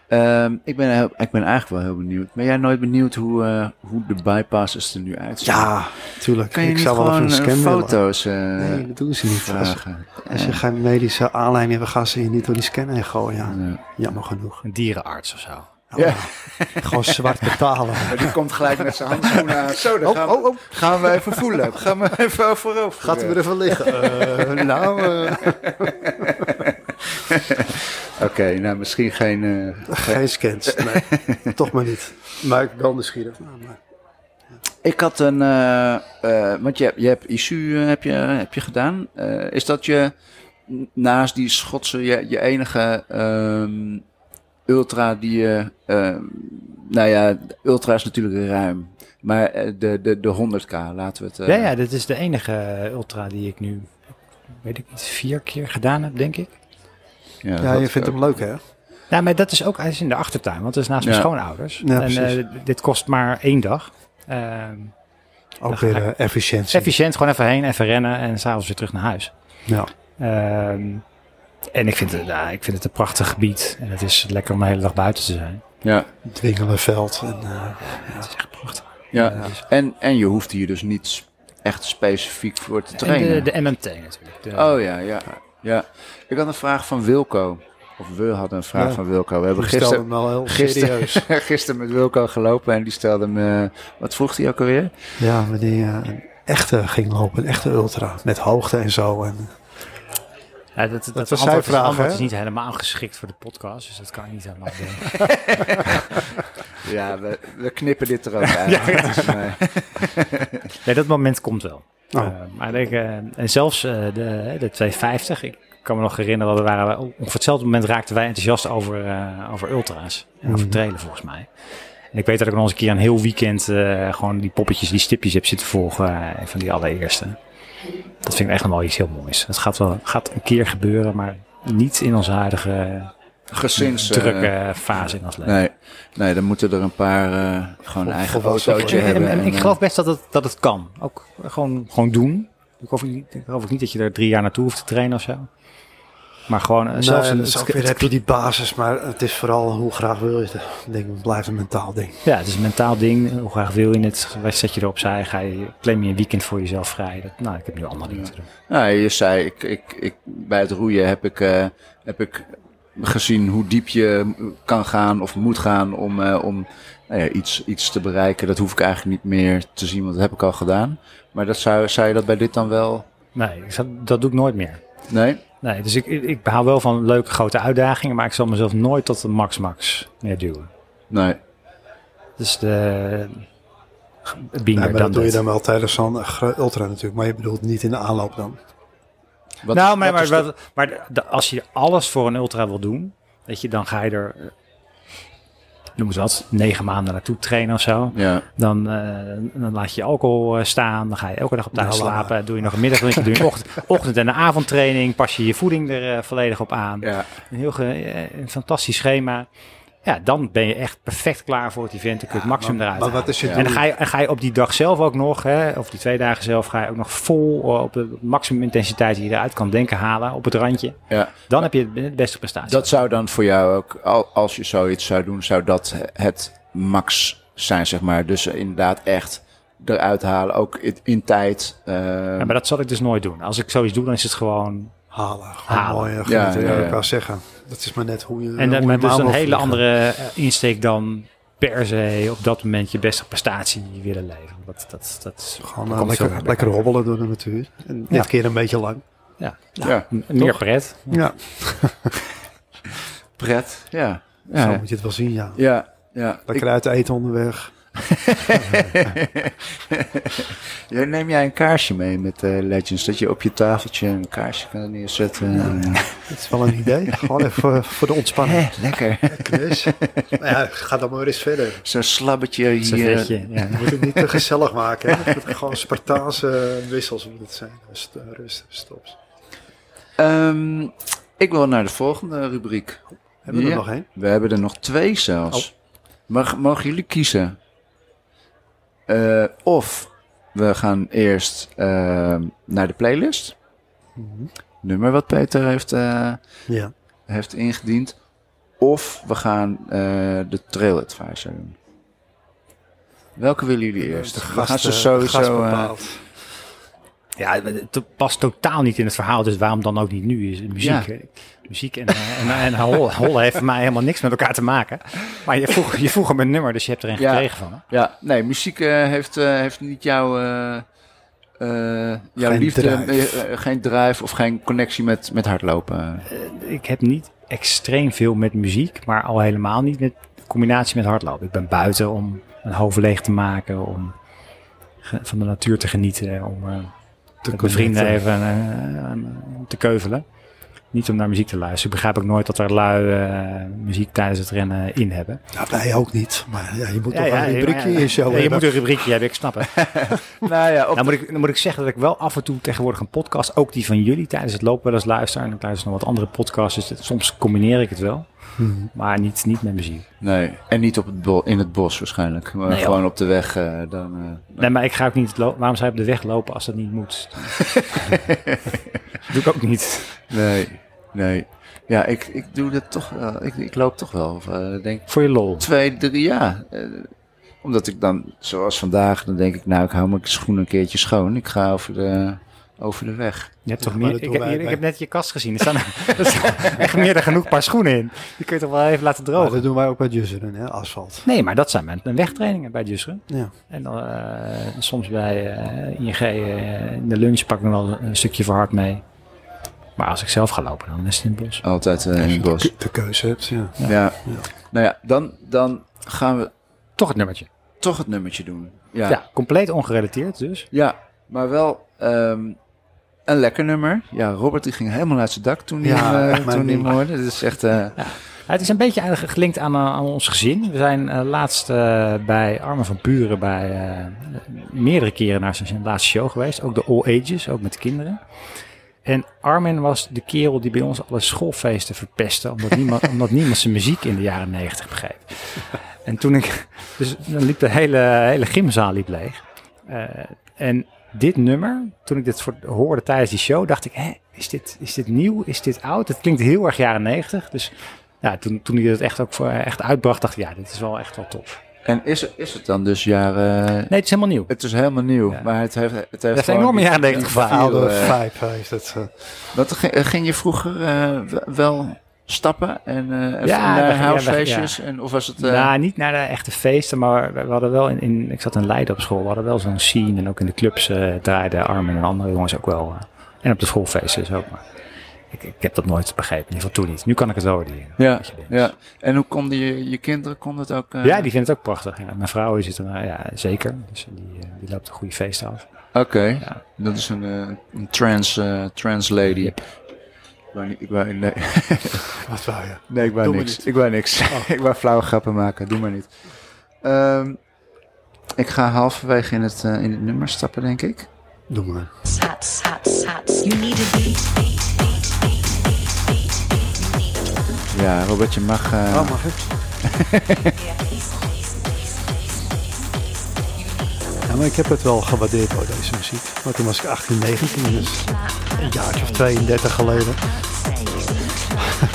B: Ehm, ik, ben heel- ik ben eigenlijk wel heel benieuwd. Ben jij nooit benieuwd hoe, eh, hoe de bypasses er nu uitzien?
C: Ja, tuurlijk.
B: kan je
C: ik
B: niet
C: zou wel even
B: gewoon
C: een
B: eh,
C: scan willen.
B: foto's eh,
C: Nee, dat doen ze niet. Als,
B: vragen?
C: als je geen medische aanleiding hebt, gaan ze je niet door die scan heen gooien. Ja.
B: Ja.
C: Jammer genoeg.
D: Een dierenarts of zo.
C: Ja. Gewoon zwart betalen.
B: Die komt gelijk met zijn handschoenen aan. Zo, dan
C: Oh, oh, oh.
B: gaan we even voelen. Gaan we even voorop.
C: Gaat hij weer even liggen? Eh, nou, eh,
B: Oké, nou misschien geen... eh,
C: geen scans. Nee, toch maar niet. Maar ik ben wel nieuwsgierig. Nou, maar-
B: Ik had een, eh, eh, want je, hebt- je hebt ISU eh, heb je, heb je gedaan. Eh, is dat je n- naast die Schotse je, je enige ehm, ultra die je, ehm, nou ja, ultra is natuurlijk ruim, maar eh, de, de, de 100k laten we het. eh,
D: Ja, ja, dit is de enige eh, ultra die ik nu, weet ik niet, vier keer gedaan heb, denk ik.
B: ja,
C: Ja,
B: dat-
C: je vindt hem leuk, hè?
D: Nou, maar dat is ook hij is in de achtertuin, want dat is naast mijn
B: Ja.
D: schoonouders.
C: Ja,
D: en
C: precies.
D: eh, dit kost maar één dag. Ehm,
C: Ook weer eh, efficiëntie.
D: efficiënt, gewoon even heen, even rennen en s'avonds weer terug naar huis.
C: Ja.
D: Ehm, en ik vind, het, nou, ik vind het een prachtig gebied. En het is lekker om de hele dag buiten te zijn.
B: ja,
C: Dwingelenveld. En, eh,
D: Het is echt prachtig.
B: ja. En, en je hoeft hier dus niet echt specifiek voor te trainen.
D: En de, de MMT natuurlijk. De-
B: Oh ja, ja, ja. Ik had een vraag van Wilco. Of we hadden een vraag
C: Ja.
B: van Wilco. We hebben
C: die stelde
B: gisteren,
C: hem wel heel
B: gisteren-
C: serieus.
B: gisteren met Wilco gelopen en die stelde me. wat vroeg hij ook alweer?
C: Ja, wanneer je een echte ging lopen, een echte ultra. Met hoogte en zo. En,
D: Ja, dat, dat,
C: was
D: antwoord,
C: zijn vraag,
D: is, antwoord
C: hè?
D: is niet helemaal geschikt voor de podcast, dus dat kan ik niet helemaal doen.
B: Ja, we, we knippen dit er ook uit. Dus, eh,
D: Nee, dat moment komt wel.
C: Oh.
D: Eh, maar ik, eh, en zelfs eh, de, de 250, ik kan me nog herinneren, we waren, we- op hetzelfde moment raakten wij enthousiast over, eh, over ultra's en over
C: Mm.
D: trailen volgens mij. En ik weet dat ik nog eens een keer een heel weekend eh, gewoon die poppetjes, die stipjes heb zitten volgen eh, van die allereerste. Dat vind ik echt nog wel iets heel moois. Het gaat, wel, gaat een keer gebeuren, maar niet in onze huidige
B: gezins. eh,
D: drukke fase in ons leven.
B: nee, nee, dan moeten er een paar eh, gewoon een eigen
C: volwassen
B: autootje
D: En- en-
B: hebben.
D: en ik
B: eh,
D: geloof best dat het, dat het kan. Ook gewoon, gewoon doen. Ik geloof, niet, ik geloof ook niet dat je er drie jaar naartoe hoeft te trainen of zo. Maar gewoon eh, zelfs...
C: zelfs
D: een-
C: ook weer heb je die basis, maar het is vooral hoe graag wil je het. Ik denk, het blijft een mentaal ding.
D: ja, het is een mentaal ding. Hoe graag wil je het? Wij zet je erop zij. Ga je, claim je een weekend voor jezelf vrij. Dat, nou, ik heb nu allemaal dingen te doen.
B: nou, je zei, ik, ik, ik, bij het roeien heb ik, eh, heb ik gezien hoe diep je kan gaan of moet gaan om, eh, om nou ja, iets, iets te bereiken. Dat hoef ik eigenlijk niet meer te zien, want dat heb ik al gedaan. Maar dat zou, zou je dat bij dit dan wel?
D: Nee, ik zou- dat doe ik nooit meer.
B: Nee?
D: Nee, dus ik, ik, ik hou wel van leuke grote uitdagingen, maar ik zal mezelf nooit tot de max-max meer duwen.
B: Nee.
D: Dus de. Binder
C: Nee, maar
D: dan
C: dat doe je
D: dat.
C: dan wel tijdens zo'n gro- ultra natuurlijk. Maar je bedoelt niet in de aanloop dan.
B: Wat
D: nou,
B: is-
D: maar,
B: wat
D: maar,
B: is de-
D: wat- maar de- de- als je alles voor een ultra wil doen, weet je, dan ga je er, eh, noem het wat, negen maanden naartoe trainen of zo.
B: Ja,
D: Dan, eh, dan laat je je alcohol eh, staan, dan ga je elke dag op tijd
C: Nou, laat
D: slapen, doe je nog een middagdutje, doe je een ochtend, ochtend- en een avondtraining, pas je je voeding er eh, volledig op aan.
B: ja.
D: Een heel ge- eh, een fantastisch schema. Ja, dan ben je echt perfect klaar voor het event. Dan kun je het maximum eruit
C: Maar
D: halen.
C: wat is je
B: Ja.
C: doel?
D: En dan ga je, en ga je op die dag zelf ook nog, hè, of die twee dagen zelf, ga je ook nog vol eh, op de maximum intensiteit die je eruit kan denken halen, op het randje.
B: ja.
D: Dan heb je het- het beste prestatie.
B: Dat zou dan voor jou ook, al- als je zoiets zou doen, zou dat het max zijn, zeg maar. Dus inderdaad echt eruit halen, ook in, in tijd. eh,
D: Ja, maar dat zal ik dus nooit doen. Als ik zoiets doe, dan is het gewoon...
C: Halen. Gewoon
D: Halen.
C: mooi.
B: Ja,
C: eh, genieten,
B: ja,
C: ja,
B: ja.
C: Ik wou zeggen. Dat is maar net hoe je
D: En
C: hoe
D: dat
C: je
D: is dus
C: mouw
D: een
C: wil
D: hele
C: vliegen.
D: andere eh, insteek dan per se op dat moment je beste prestatie willen leveren. Dat, dat, dat is
C: Gewoon
D: dat
C: eh,
D: komt zo
C: lekker,
D: bij
C: lekker
D: elkaar.
C: hobbelen door de natuur. En dit
D: Ja.
C: keer een beetje lang.
D: Ja.
B: ja,
D: M- Meer pret.
C: Ja,
B: pret. Ja,
C: zo
B: ja,
C: moet je het wel zien, ja.
B: ja. ja. Ik-
C: Lekker uit eten onderweg.
B: Ja, neem jij een kaarsje mee met eh, Legends? Dat je op je tafeltje een kaarsje kan neerzetten.
C: Dat is wel een idee. Gewoon even voor, voor de
B: Hé,
C: ontspanning.
B: lekker.
C: Dus, ja, ga dan maar eens verder.
B: Zo'n slabbetje hier.
D: Servetje, ja.
C: Je moet het niet te gezellig maken. Hè. Het moet gewoon Spartaanse wissels moet het zijn. Rust, rust stops.
B: Ehm, ik wil naar de volgende rubriek.
C: Hebben we
B: Ja.
C: er nog één?
B: We hebben er nog twee zelfs.
C: Oh.
B: Mag, mogen jullie kiezen? Eh, of we gaan eerst ehm, naar de playlist.
D: Mhm.
B: Nummer wat Peter heeft, eh,
C: Ja.
B: heeft ingediend. Of we gaan eh, de Trail Advisor doen. Welke willen jullie eerst?
C: De
B: we
C: gast,
B: gaan ze
C: eh,
B: sowieso...
C: de gast
B: eh,
C: bepaalt.
D: Ja, het past totaal niet in het verhaal, dus waarom dan ook niet nu? Is muziek,
B: Ja.
D: hè? muziek en, eh, en, en hol- hollen heeft voor mij helemaal niks met elkaar te maken. Maar je vroeg, je vroeg om een nummer, dus je hebt er een
B: Ja.
D: gekregen van. Hè?
B: ja, nee, muziek eh, heeft, eh, heeft niet jouw... eh, eh, jouw
C: Geen
B: liefde,
C: drive.
B: eh, eh, geen drive of geen connectie met, met hardlopen.
D: Ik heb niet extreem veel met muziek, maar al helemaal niet met combinatie met hardlopen. Ik ben buiten om mijn hoofd leeg te maken, om ge- van de natuur te genieten, om eh, met mijn vrienden even eh, eh, te keuvelen. Niet om naar muziek te luisteren. Ik begrijp ook nooit dat er lui eh, muziek tijdens het rennen in hebben.
C: Nou, wij ook niet. Maar ja, je moet toch een
D: ja,
C: rubriekje
D: ja.
C: in show
D: Ja, je moet
C: hebben.
D: een rubriekje hebben, ik snap het.
B: nou ja,
D: Dan moet, ik, dan moet ik zeggen dat ik wel af en toe tegenwoordig een podcast, ook die van jullie tijdens het lopen wel eens luister. En ik luister nog wat andere podcasts, dus dat- soms combineer ik het wel.
C: Mhm.
D: Maar niet, niet met muziek.
B: Nee, en niet op het bo- in het bos waarschijnlijk. Maar
D: Nee,
B: gewoon op de weg eh, dan. eh,
D: Nee, maar ik ga ook niet lopen. Waarom zou je op de weg lopen als dat niet moet? Dat doe ik ook niet.
B: nee, nee. Ja, ik, ik doe dat toch wel. Ik, ik loop toch wel. eh, denk ik
D: Voor je lol.
B: twee, drie jaar. Eh, omdat ik dan, zoals vandaag, dan denk ik, nou, ik hou mijn schoenen een keertje schoon. Ik ga over de, over de weg.
D: Je hebt toch
C: Ja, maar
D: meer,
C: dat
D: ik,
C: doen
D: heb,
C: wij
D: hier- ik
C: bij-
D: heb net je kast gezien. Er staan, er staan echt meer dan genoeg paar schoenen in. Die kun je toch wel even laten
C: Maar
D: drogen.
C: Oh, dat doen wij ook bij Jusseren, hè, asfalt.
D: Nee, maar dat zijn mijn mijn wegtrainingen bij Jusrun.
C: Ja.
D: En dan, eh, soms bij eh ING eh, in de lunch pak ik nog wel een stukje verhard mee. Maar als ik zelf ga lopen, dan is het in het bos.
B: Altijd eh, in het bos.
C: Ke- De keuze hebt, ja.
B: Ja. Nou ja, dan, dan gaan we
D: Toch het nummertje.
B: toch het nummertje doen.
D: Ja,
B: ja.
D: compleet ongerelateerd dus.
B: ja maar wel. ehm, een lekker nummer. Ja, Robert die ging helemaal uit zijn dak toen hij
C: Ja,
B: hem, eh,
C: echt mijn
B: toen hij hem
C: ding.
B: hoorde. Dit is echt... eh,
D: Ja, het is een beetje eigenlijk gelinkt aan, eh, aan ons gezin. We zijn eh, laatst eh, bij Armen van Buren bij eh, meerdere keren naar zijn laatste show geweest. Ook de All Ages, ook met de kinderen. En Armin was de kerel die bij ons alle schoolfeesten verpestte. Omdat niemand, omdat niemand zijn muziek in de jaren negentig begreep. En toen ik... Dus dan liep de hele, hele gymzaal liep leeg. Eh, en dit nummer, toen ik dit voor, hoorde tijdens die show, dacht ik... Hè, is, dit, is dit nieuw? Is dit oud? Het klinkt heel erg jaren negentig. Dus ja, toen, toen hij dat echt ook voor, echt uitbracht, dacht ik... Ja, dit is wel echt wel tof.
B: En is, is het dan dus jaren...
D: Nee, het is helemaal nieuw. Het
B: Het is helemaal nieuw,
D: Ja.
B: maar het heeft... Het heeft,
D: heeft een
B: gewoon-
D: enorme jaren negentig
B: die-
D: gevaar.
B: Oude,
C: Oude
B: eh,
C: vibe heeft het. eh.
B: Wat, ging, ging je vroeger eh, wel stappen en, eh en
D: Ja,
B: naar
D: we gingen-
B: housefeestjes? En, of was het... eh,
D: nou, niet naar de echte feesten, maar we hadden wel in, in ik zat in Leiden op school, we hadden wel zo'n scene en ook in de clubs eh draaiden Armin en andere jongens ook wel. eh. en op de schoolfeesten dus ook. Maar ik, ik heb dat nooit begrepen, in ieder geval toen niet. Nu kan ik het wel waarderen.
B: ja,
D: Beetje links.
B: ja, en hoe konden je, je kinderen, kon het ook... eh,
D: Ja, die vindt het ook prachtig. Ja, mijn vrouw is het, eh, ja, zeker. Dus die, eh, die loopt een goede feesten af.
B: Oké,
D: Ja.
B: dat is een, eh, een trans, eh, trans lady. Ik wou niet, ik wou, nee,
C: Wat wou je?
B: nee, ik wou
C: Doe maar
B: niks.
C: niet.
B: Ik wou niks. ik wou flauwe grappen maken, doe maar niet. Ehm, ik ga halverwege in het, eh, in het nummer stappen, denk ik.
C: Doe maar.
E: Sats, sats, sats. You need a beat. beat, beat, beat, beat, beat. You need a beat.
B: Ja, Robert, je mag... eh,
C: Oh, mag ik?
E: Yeah. Bass, bass, bass, bass, bass, bass. You need a
C: Ja, maar ik heb het wel gewaardeerd hoor, deze muziek. Maar toen was ik 18, 19, dus
E: clap,
C: een jaartje of 32 geleden.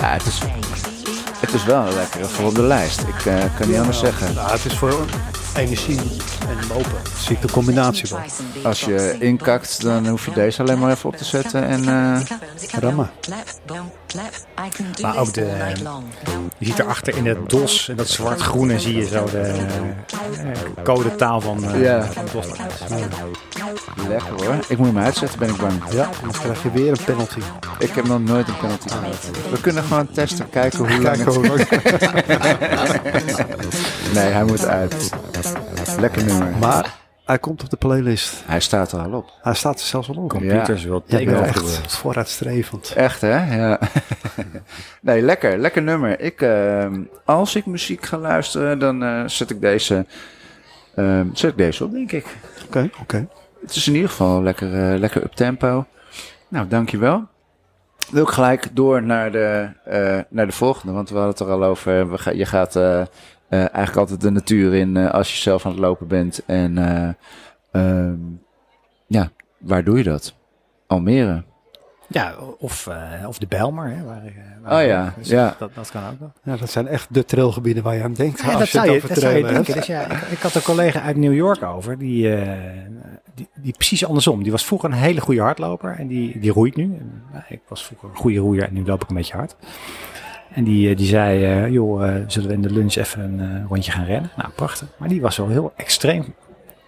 B: ja, het, is, het is wel lekker, voor op de lijst. Ik eh, kan niet anders zeggen.
C: Nou, het is voor energie en lopen. Zie ik de combinatie wel.
B: Als je inkakt, dan hoef je deze alleen maar even op te zetten en, eh,
C: rammen.
D: Maar ook de- Je ziet erachter in het DOS, en dat zwart-groene, zie je zo de eh, codetaal van eh
B: Ja.
D: van DOS.
B: Lekker hoor. Ik moet hem uitzetten, ben ik bang.
C: Ja, anders krijg je weer een penalty.
B: Ik heb nog nooit een penalty gehad. We kunnen gewoon testen, kijken hoe lang
C: Kijk
B: het...
C: hoe lang.
B: Nee, hij moet uit. Lekker nummer.
C: Maar hij komt op de playlist.
B: Hij staat er al op.
C: Hij staat er zelfs al op.
D: Computers wil
C: Ja, ik ben
D: tekenen.
C: echt vooruitstrevend.
B: Echt hè? Ja. Nee, lekker. Lekker nummer. Ik, ehm, als ik muziek ga luisteren, dan eh, zet ik deze... ehm, zet ik deze op, denk ik.
C: Oké, oké.
B: Het is in ieder geval lekker, eh, lekker uptempo. Nou, dankjewel. Wil ik gelijk door naar de, eh, naar de volgende, want we hadden het er al over. We ga- je gaat eh, eh, eigenlijk altijd de natuur in eh, als je zelf aan het lopen bent. En eh, ehm, ja, waar doe je dat? Almere.
D: Ja, of, eh, of de Bijlmer. Hè, waar, ik, eh, waar
B: Oh
D: ik-
B: ja,
D: dus
B: ja.
D: Dat, dat kan ook nog.
C: Ja, dat zijn echt de trailgebieden waar je aan denkt. als
D: dat,
C: je
D: zou
C: het
D: je,
C: over
D: dat zou je
C: trailen
D: denken.
C: hebt.
D: Dus ja, ik, ik had een collega uit New York over, die, eh, die, die precies andersom. Die was vroeger een hele goede hardloper en die, die roeit nu. En, nou, ik was vroeger een goede roeier en nu loop ik een beetje hard. En die, eh, die zei, eh, joh, eh, zullen we in de lunch even een eh, rondje gaan rennen? Nou, prachtig. Maar die was wel heel extreem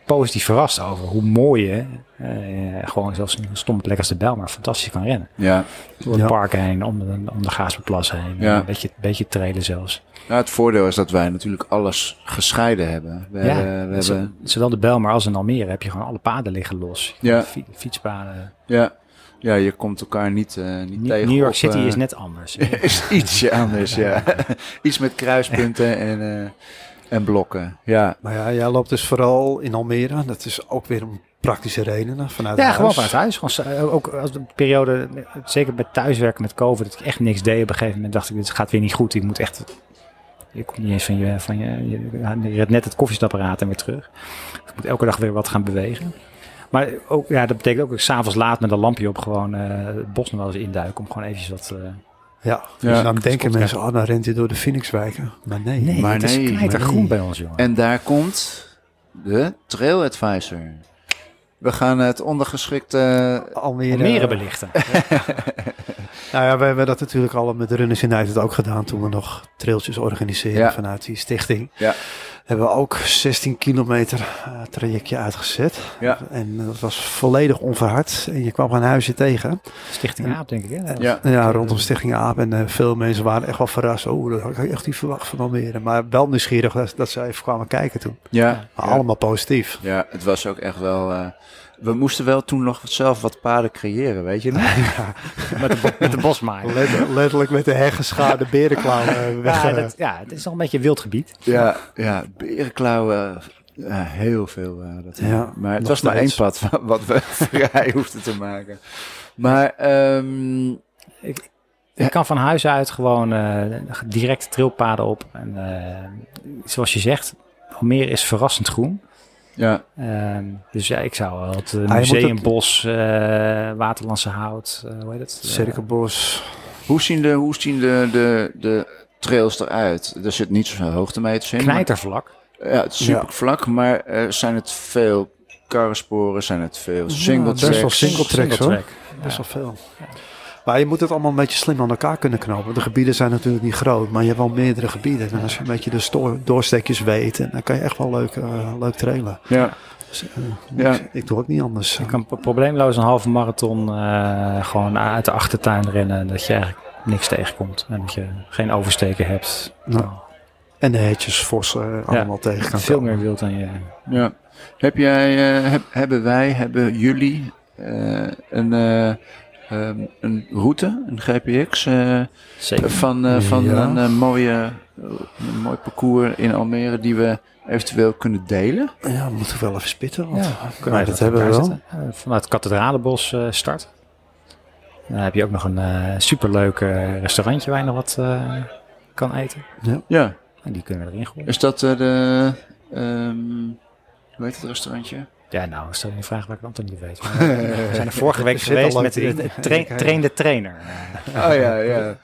D: positief verrast over hoe mooi je, eh, gewoon zelfs een stomme plek als de Bijl, maar fantastisch kan rennen.
B: Ja.
D: Door het
C: Ja.
D: park heen, om de, om de Gaasperplas heen,
B: Ja.
D: een beetje, beetje trailen zelfs.
B: Nou, het voordeel is dat wij natuurlijk alles gescheiden hebben. We
D: Ja,
B: hebben, we
D: zo-
B: hebben
D: zowel de Bijlmer als in Almere heb je gewoon alle paden liggen los. Je
B: Ja.
D: hebt fi- fietspaden.
B: ja, ja, je komt elkaar niet, eh, niet
D: Ni-
B: tegen.
D: New York
B: op,
D: City
B: eh,
D: is net anders.
B: is ietsje anders, ja. Iets met kruispunten en, eh, en blokken. Ja,
C: Maar ja, jij loopt dus vooral in Almere. Dat is ook weer om praktische redenen. Vanuit
D: ja,
C: huis.
D: gewoon vanuit huis. Gewoon, eh, ook als de periode, eh, zeker met thuiswerken met COVID, dat ik echt niks deed. Op een gegeven moment dacht ik, dit gaat weer niet goed. Ik moet echt... Je komt niet eens van je... Van je, je, je redt net het koffiezetapparaat en weer terug. Dus ik moet elke dag weer wat gaan bewegen. Maar ook, ja, dat betekent ook dat ik s'avonds laat met een lampje op gewoon eh, het bos nog wel eens induiken. Om gewoon eventjes wat... eh,
C: Ja,
B: Ja.
C: dus dan denken
D: Spotkracht.
C: mensen, oh, dan rent hij door de Phoenixwijken. Maar nee.
D: Nee,
B: Maar
D: het
B: nee,
D: is knijtergroen
C: maar
D: bij ons, jongen.
B: en daar komt de Trail Advisor. We gaan het ondergeschikte...
C: Almere,
B: eh,
D: Almere belichten.
C: Nou ja, wij hebben dat natuurlijk al met Runners United ook gedaan toen we nog trailtjes organiseren
B: Ja.
C: vanuit die stichting.
B: Ja.
C: Hebben we ook 16 kilometer eh, trajectje uitgezet.
B: Ja.
C: En dat was volledig onverhard. En je kwam een huisje tegen.
D: Stichting Aap, denk ik. Hè?
B: Ja,
C: Ja, rondom Stichting Aap. En eh, veel mensen waren echt wel verrast. Oh, dat had ik echt niet verwacht van Almere. Maar wel nieuwsgierig dat, dat ze even kwamen kijken toen.
B: ja,
C: Maar
B: ja,
C: Allemaal positief.
B: ja, het was ook echt wel... eh, we moesten wel toen nog zelf wat paden creëren, weet je nog?
D: Met de, bo- met de bosmaaier.
C: Letter- letterlijk met de heggeschaarde berenklauw eh, weg.
D: Ja,
C: eh,
D: dat, ja, het is al een beetje wild gebied.
B: Ja, ja, berenklauwen... ja, heel veel. eh, dat
C: Ja,
B: maar het
C: nog
B: was maar één
C: steeds.
B: pad wa- wat we vrij hoefden te maken. Maar ehm,
D: Je kan van huis uit gewoon eh, direct trilpaden op. En, eh, zoals je zegt, Almere is verrassend groen.
B: ja,
D: Ehm, dus ja, ik zou wel
C: Ah,
D: het eh,
C: je moet
D: museumbos, eh, Waterlandse hout, eh, hoe heet het? Eh,
C: Cirkelbos.
B: Hoe zien de, hoe zien de, de, de trails eruit? Er zit niet zoveel hoogtemeters in. maar-
D: knijtervlak.
B: Ja, het is super vlak, maar eh, zijn het veel karrensporen? Zijn het veel single
C: best wel
B: tracks?
C: single tracks hoor.
D: track.
C: Best wel veel. Maar je moet het allemaal een beetje slim aan elkaar kunnen knopen. Want de gebieden zijn natuurlijk niet groot, maar je hebt wel meerdere gebieden. En als je een beetje de sto- doorsteekjes weet, en dan kan je echt wel leuk, eh, leuk trailen.
B: Ja.
C: Dus, eh,
B: Ja.
C: ik, ik doe ook niet anders.
D: Je kan pro- probleemloos een halve marathon eh, gewoon uit de achtertuin rennen. Dat je eigenlijk niks tegenkomt. En dat je geen oversteken hebt.
C: Nou, en de heetjes, vossen, allemaal tegen kan
D: Veel
C: komen.
D: meer wild dan je...
B: Ja. Heb jij, eh, heb- hebben wij, hebben jullie eh, een, eh, ehm, een route, een GPX, eh,
D: Zeker.
B: van, eh, van
C: Ja.
B: een, eh, mooie, een mooi parcours in Almere die we eventueel kunnen delen?
C: Ja, we moeten wel even spitten. Want
D: Ja,
C: wij dat hebben we wel.
D: Eh, vanuit het Kathedralenbos eh, start. Dan heb je ook nog een eh, superleuk eh, restaurantje waar je nog wat eh, kan eten.
B: Ja.
D: En die kunnen we erin gooien.
B: Is dat eh, de, ehm, hoe heet het restaurantje?
D: Ja, nou, stel je een vraag waar ik het antwoord niet weet. Maar we zijn er vorige week
C: zit al
D: geweest
C: leuk
D: met
C: in.
D: de tra- train de trainer.
B: Oh ja, ja.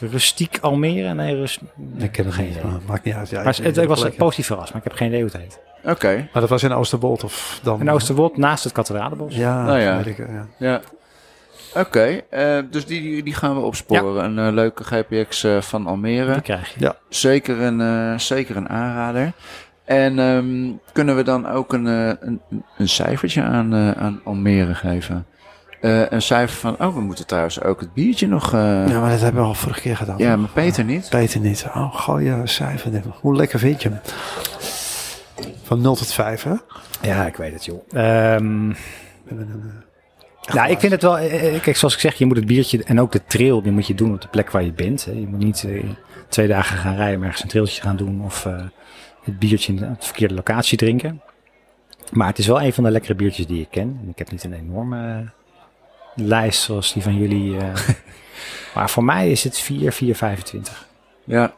D: Rustiek Almere? Nee, rust...
C: Ik ken het niet, maar maakt niet Oh. uit. Ja,
D: Maar
C: ik-
D: het, het was een
C: lekker.
D: positief verrast, maar ik heb geen idee hoe het heet.
B: Oké,
C: Maar dat was in Oosterwold of dan?
D: In Oosterwold, naast het Kathedralenbos.
C: Ja,
B: Nou ja.
C: weet ik, eh, ja.
B: ja. Oké, eh, dus die, die gaan we opsporen. Een eh, leuke GPX eh, van Almere.
D: Die krijg je.
B: Zeker een, eh, zeker een aanrader. En ehm, kunnen we dan ook een, eh, een, een cijfertje aan, eh, aan Almere geven? Eh, een cijfer van, oh, we moeten trouwens ook het biertje nog... eh,
C: Ja, maar dat hebben we al vorige keer gedaan.
B: ja, maar Peter niet.
C: Peter niet. Oh, gooi je cijfer. erin. Hoe lekker vind je hem? Van 0 tot 5, hè?
D: Ja, ik weet het, joh. Ehm, nou, ik vind het wel... eh, eh, Kijk, zoals ik zeg, je moet het biertje en ook de trail, die moet je doen op de plek waar je bent. Hè. Je moet niet eh, twee dagen gaan rijden om ergens een trailtje gaan doen of eh, het biertje in de- op de verkeerde locatie drinken. Maar het is wel een van de lekkere biertjes die ik ken. En Ik heb niet een enorme eh, lijst zoals die van jullie. eh. maar voor mij is het 4, 4, 25.
B: Ja,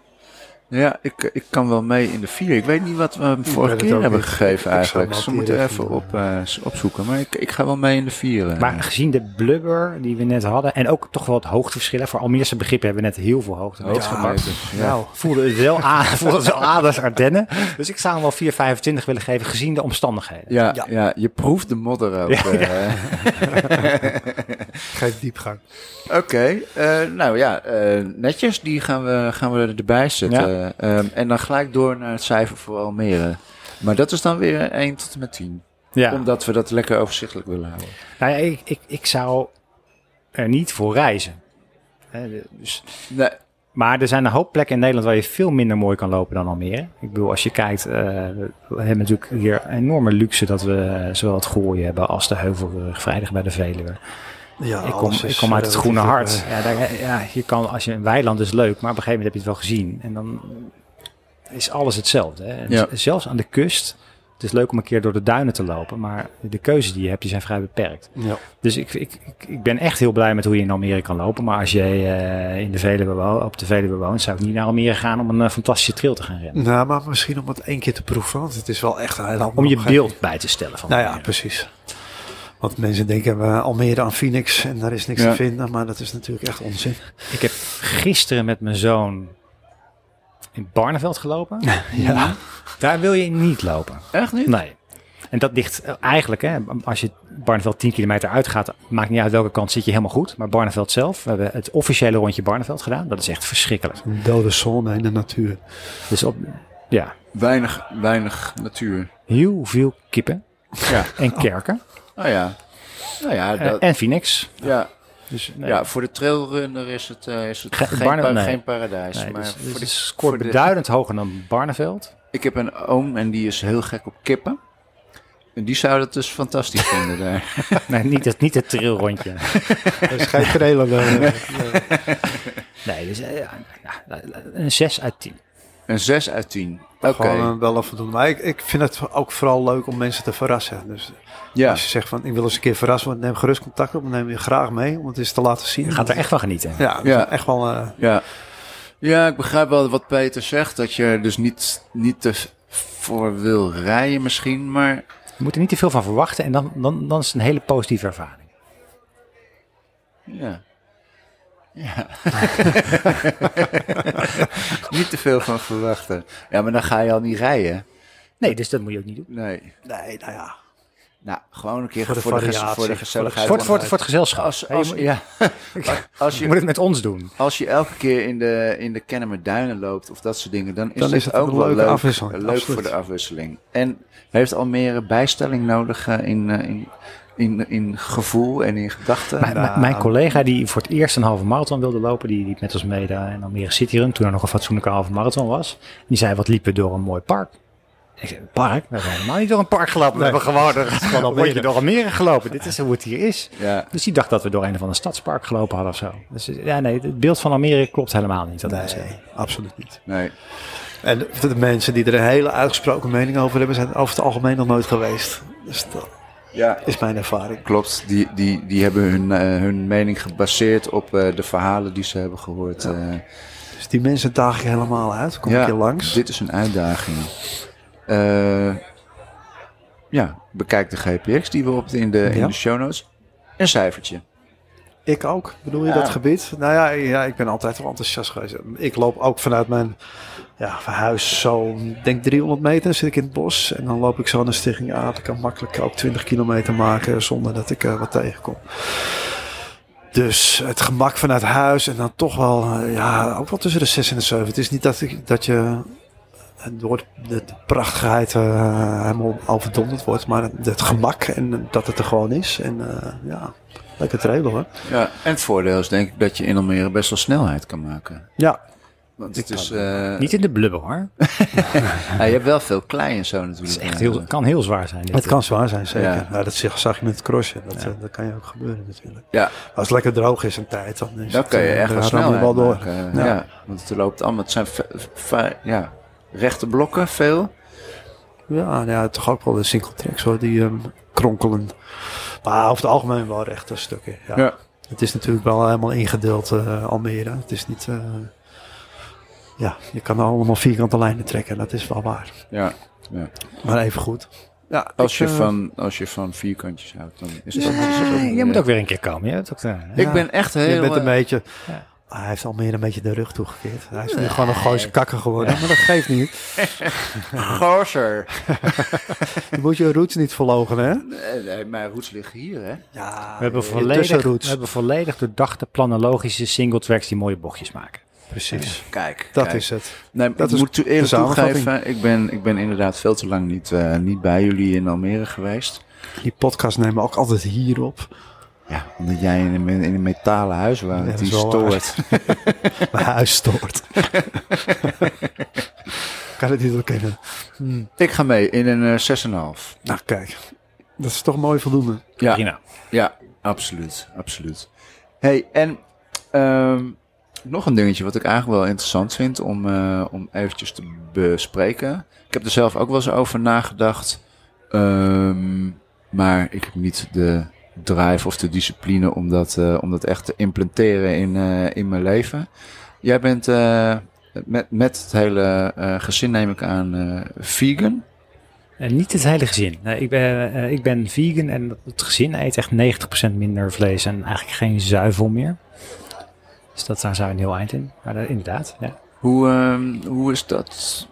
B: ja ik, ik kan wel mee in de vier. Ik weet niet wat we hem vorige
C: weet het
B: keer
C: ook
B: hebben
C: niet. Ik
B: gegeven
C: zou
B: eigenlijk.
C: hem
B: Ze
C: ook
B: moeten we
C: niet
B: even
C: even
B: op, eh, opzoeken. Maar ik, ik ga wel mee in de vier. eh.
D: Maar gezien de blubber die we net hadden en ook toch wel het hoogteverschillen. Voor Almeerse begrippen hebben we net heel veel hoogte. meegepakt.
B: Hoogtemeters, ja.
C: Nou,
D: voelde het wel aan, voelde het wel aan als Ardennen. Dus ik zou hem wel 4,25 willen geven, gezien de omstandigheden.
B: Ja, ja. je proeft de modder ook. eh.
C: geef diepgang.
B: Oké, eh, nou ja, eh, netjes, die gaan we, gaan we erbij zetten. Ehm, en dan gelijk door naar het cijfer voor Almere. Maar dat is dan weer 1 tot en met 10.
D: Ja.
B: Omdat we dat lekker overzichtelijk willen houden.
D: Nou ja, ik, ik, ik zou er niet voor reizen. Hè, de- dus,
B: Nee,
D: maar er zijn een hoop plekken in Nederland waar je veel minder mooi kan lopen dan Almere. Ik bedoel, als je kijkt, eh, we hebben natuurlijk hier enorme luxe dat we eh, zowel het Gooi hebben als de Heuvelrug, vrijdag bij de Veluwe.
C: Ja,
D: Ik kom,
C: alles is
D: ik kom uit het
C: relatief,
D: groene hart.
C: eh,
D: Ja, daar, ja, je kan, als je een weiland is leuk, maar op een gegeven moment heb je het wel gezien. En dan is alles hetzelfde. Hè? En
B: Ja.
D: z- Zelfs aan de kust. Het is leuk om een keer door de duinen te lopen, maar de keuzes die je hebt, die zijn vrij beperkt.
C: Ja.
D: Dus ik, ik, ik, ik ben echt heel blij met hoe je in Almere kan lopen. Maar als je eh, in de Veluwe wo- op de Veluwe woont, zou ik niet naar Almere gaan om een eh, fantastische trail te gaan rennen.
C: Nou, maar misschien om het één keer te proeven, want het is wel echt een hele andere
D: Om je
C: omgeving.
D: beeld bij te stellen van
C: Nou ja,
D: Almere.
C: precies. Want mensen denken we Almere aan Phoenix en daar is niks
B: Ja.
C: te vinden, maar dat is natuurlijk echt onzin.
D: Ik heb gisteren met mijn zoon in Barneveld gelopen. Mhm.
C: Ja.
D: Daar wil je niet lopen.
B: echt niet?
D: Nee. En dat ligt eh, eigenlijk, hè, als je Barneveld 10 kilometer uitgaat, maakt niet uit welke kant zit je helemaal goed. Maar Barneveld zelf, we hebben het officiële rondje Barneveld gedaan. Dat is echt verschrikkelijk.
C: Een dode zone in de natuur.
D: Dus op, ja,
B: Weinig, weinig natuur.
D: heel veel kippen
B: Ja,
D: en kerken
B: nou ja. Nou ja,
D: eh,
B: dat,
D: en Phoenix.
B: ja,
D: Dus nee,
B: ja, voor de trailrunner is het, eh, is het
D: Ge-
B: geen,
D: Barne-
B: pa-
D: nee.
B: geen paradijs.
D: nee,
B: maar
D: dus, dus
B: voor
D: het
B: de,
D: is
B: voor
D: scoort
B: de-
D: beduidend hoger dan Barneveld.
B: ik heb een oom en die is heel gek op kippen. En die zou dat dus fantastisch vinden daar.
D: nee, niet het, niet het trailrondje.
C: Dat is geen trailer. eh, eh,
D: Nee, dus, eh, ja, nou, een 6 uit 10.
B: Een 6 uit 10. Oké.
C: Gewoon eh, wel een voldoende. Maar ik, ik vind het ook vooral leuk om mensen te verrassen. Dus
B: Ja.
C: als je zegt van ik wil eens een keer verrast worden, neem gerust contact op. Neem je graag mee om het eens te laten zien.
D: Je gaat er echt van genieten.
C: Ja, dat
B: Ja.
C: is echt wel. eh,
B: Ja. ja, ik begrijp wel wat Peter zegt. Dat je dus niet, niet te voor wil rijden misschien. Maar
D: Je moet er niet te veel van verwachten en dan, dan, dan is het een hele positieve ervaring.
B: ja. Ja. niet te veel van verwachten. Ja, maar dan ga je al niet rijden.
D: Nee, dus dat moet je ook niet doen.
B: Nee.
C: nee, nou ja.
B: Nou, gewoon een keer
C: Voor
B: voor
C: de
B: de,
C: variatie,
B: gez- voor
C: voor
B: de
C: de
B: gezelligheid.
D: Voor, het- voor, het- voor het gezelschap.
B: als,
D: Hè, je
B: als,
D: moet-
B: ja, als,
D: je moet
B: je,
D: het met ons doen.
B: als je elke keer in de, in de Kennemer Duinen loopt of dat soort dingen, dan is,
C: Dan is
B: het
C: het
B: ook
C: een
B: wel
C: leuke
B: leuk,
C: afwisseling,
B: leuk
C: absoluut.
B: voor de afwisseling. En heeft Almere bijstelling nodig eh, in, eh, in, in, in gevoel en in gedachten?
D: Mijn- mijn- mijn collega die voor het eerst een halve marathon wilde lopen, die liep met ons mee daar in Almere City Run, toen er nog een fatsoenlijke halve marathon was. Die zei, wat liepen we door een mooi park? Ik zei, park? We zijn helemaal niet door een park gelopen. We hebben gewoon een
C: Almere.
D: rondje door Almere gelopen. Dit is hoe het hier is.
B: ja.
D: Dus die dacht dat we door een of ander stadspark gelopen hadden of zo. Dus ja, nee, het beeld van Almere klopt helemaal niet. Dat hij zei.
C: Nee, absoluut niet.
B: Nee.
C: En de, de mensen die er een hele uitgesproken mening over hebben, zijn over het algemeen nog nooit geweest. Dus dat
B: Ja.
C: is mijn ervaring.
B: Klopt, die, die, die hebben hun, eh, hun mening gebaseerd op eh, de verhalen die ze hebben gehoord. eh.
C: Dus die mensen daag ik helemaal uit. Kom
B: Ja,
C: ik hier langs.
B: Dit is een uitdaging. Eh, ja, bekijk de GPX die we op in de, in
C: Ja.
B: de show notes. Een cijfertje.
C: Ik ook. Bedoel je
B: Ja.
C: dat gebied? Nou ja, ja, ik ben altijd wel enthousiast geweest. Ik loop ook vanuit mijn ja, huis zo'n, denk 300 meter, zit ik in het bos. En dan loop ik zo naar Stichting Aard. Ik kan makkelijk ook 20 kilometer maken zonder dat ik eh, wat tegenkom. Dus het gemak vanuit huis en dan toch wel, eh, ja, ook wel tussen de 6 en de 7. Het is niet dat, ik, dat je eh, door de, de prachtigheid eh, helemaal overdonderd wordt, maar het, het gemak en dat het er gewoon is. En eh, ja, lekker trailen hoor.
B: Ja, en het voordeel is denk ik dat je in Almere best wel snelheid kan maken.
C: Ja,
B: Want het is, eh,
D: Niet in de blubber hoor.
B: ja, je hebt wel veel klei en zo natuurlijk.
D: Het is echt heel, kan heel zwaar zijn. dit.
C: Het kan zwaar zijn, zeker.
B: Ja.
C: Nou, dat zag, zag je met het crossen. Dat, eh, dat kan je ook gebeuren natuurlijk.
B: Ja,
C: Als het lekker droog is een tijd, dan is
B: dan
C: het,
B: kan je
C: eh,
B: echt wel
C: dan ram je
B: snelheid
C: wel door.
B: maken. eh,
C: Ja.
B: ja. want het loopt allemaal, het zijn ve- ve- ja, rechte blokken veel.
C: Ja, nou ja, toch ook wel de single tracks hoor, die ehm, kronkelen. Maar over het algemeen wel rechte stukken. Ja.
B: Ja.
C: Het is natuurlijk wel helemaal ingedeeld, eh, Almere. Het is niet... eh, ja, je kan allemaal vierkante lijnen trekken, dat is wel waar.
B: ja.
C: Maar even goed. Ja,
B: Als,
C: ik,
B: je
C: eh,
B: van, als je van vierkantjes houdt, dan is dat...
D: Nee, jij moet ook weer een keer komen. Je hebt ook, eh,
B: Ik ben echt heel...
C: je bent een
B: eh,
C: beetje... Ah,
D: Ja.
C: Hij heeft Almere een beetje de rug toegekeerd. Hij is nu gewoon een gooise kakker geworden, maar dat geeft niet.
B: Gozer.
C: Je moet je roots niet verlogen, hè?
B: Nee, nee, mijn roots liggen hier, hè?
C: Ja,
D: We hebben,
C: tussen
D: volledig, we
C: roots.
D: hebben volledig doordachte, planologische single tracks die mooie bochtjes maken.
C: Precies.
B: Kijk,
C: Dat
B: kijk.
C: is het.
B: Nee, maar
C: dat
B: ik
C: is
B: moet toe-
C: de
B: eerlijk
C: samenvatting.
B: toegeven, ik ben, ik ben inderdaad veel te lang niet, eh, niet bij jullie in Almere geweest.
C: Die podcast nemen we ook altijd hier op.
B: Ja, omdat jij in een, me- in een metalen huis woont,
C: Ja, dat
B: die
C: is wel waar.
B: stoort.
C: Mijn huis stoort. kan het niet ontkennen.
B: ik ga mee in een eh 6,5.
C: Nou, kijk. Dat is toch mooi voldoende.
B: Ja,
D: Prima.
B: ja, absoluut, absoluut. hey, en ehm, nog een dingetje wat ik eigenlijk wel interessant vind om, eh, om eventjes te bespreken. Ik heb er zelf ook wel eens over nagedacht, ehm, maar ik heb niet de drive of de discipline om dat, eh, om dat echt te implementeren in, eh, in mijn leven. Jij bent eh, met, met het hele eh, gezin, neem ik aan, eh, vegan.
D: En niet het hele gezin. Nee, ik, ben, eh, ik ben vegan en het gezin eet echt 90% minder vlees en eigenlijk geen zuivel meer. Dus dat, daar zou een heel eind in. Maar eh, inderdaad, ja.
B: Hoe, ehm, hoe is dat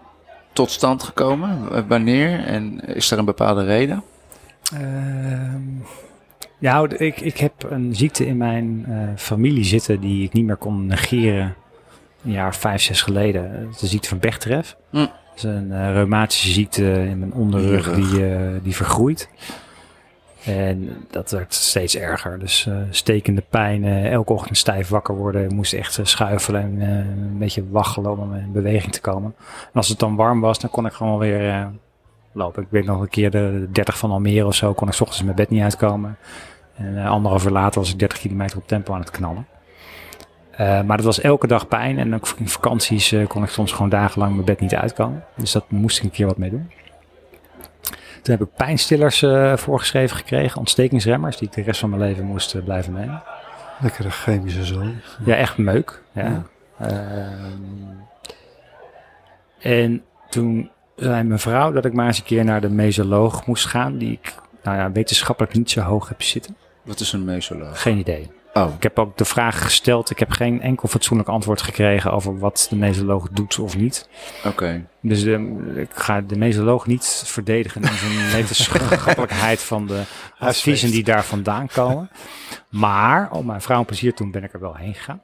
B: tot stand gekomen? W- Wanneer? En is er een bepaalde reden?
D: Ehm, ja, ik, ik heb een ziekte in mijn eh, familie zitten die ik niet meer kon negeren. Een jaar of vijf, zes geleden. Dat is de ziekte van Bechterev.
B: Hm.
D: Dat is een eh, reumatische ziekte in mijn onderrug
B: Onderrug.
D: die, eh, die vergroeit. En dat werd steeds erger. Dus eh, stekende pijn, eh, elke ochtend stijf wakker worden. Ik moest echt eh, schuifelen en eh, een beetje waggelen om in beweging te komen. En als het dan warm was, dan kon ik gewoon weer eh, lopen. Ik weet nog een keer de 30 van Almere of zo, kon ik 's ochtends mijn bed niet uitkomen. En eh, anderhalf uur later was ik 30 kilometer op tempo aan het knallen. Eh, maar dat was elke dag pijn. En ook in vakanties eh, kon ik soms gewoon dagenlang mijn bed niet uitkomen. Dus dat moest ik een keer wat mee doen. Toen heb ik pijnstillers eh, voorgeschreven gekregen, ontstekingsremmers, die ik de rest van mijn leven moest eh, blijven nemen.
C: Lekkere chemische zon.
D: Ja, echt meuk. Ja.
C: Ja.
D: Ehm, en toen zei mijn vrouw dat ik maar eens een keer naar de mesoloog moest gaan, die ik nou ja, wetenschappelijk niet zo hoog heb zitten.
B: Wat is een mesoloog?
D: Geen idee.
B: Oh,
D: Ik heb ook de vraag gesteld. Ik heb geen enkel fatsoenlijk antwoord gekregen over wat de mesoloog doet of niet.
B: oké.
D: Dus de- ik ga de mesoloog niet verdedigen in zijn wetenschappelijkheid van de adviezen die daar vandaan komen. Maar om mijn vrouw een plezier te doen ben ik er wel heen gegaan.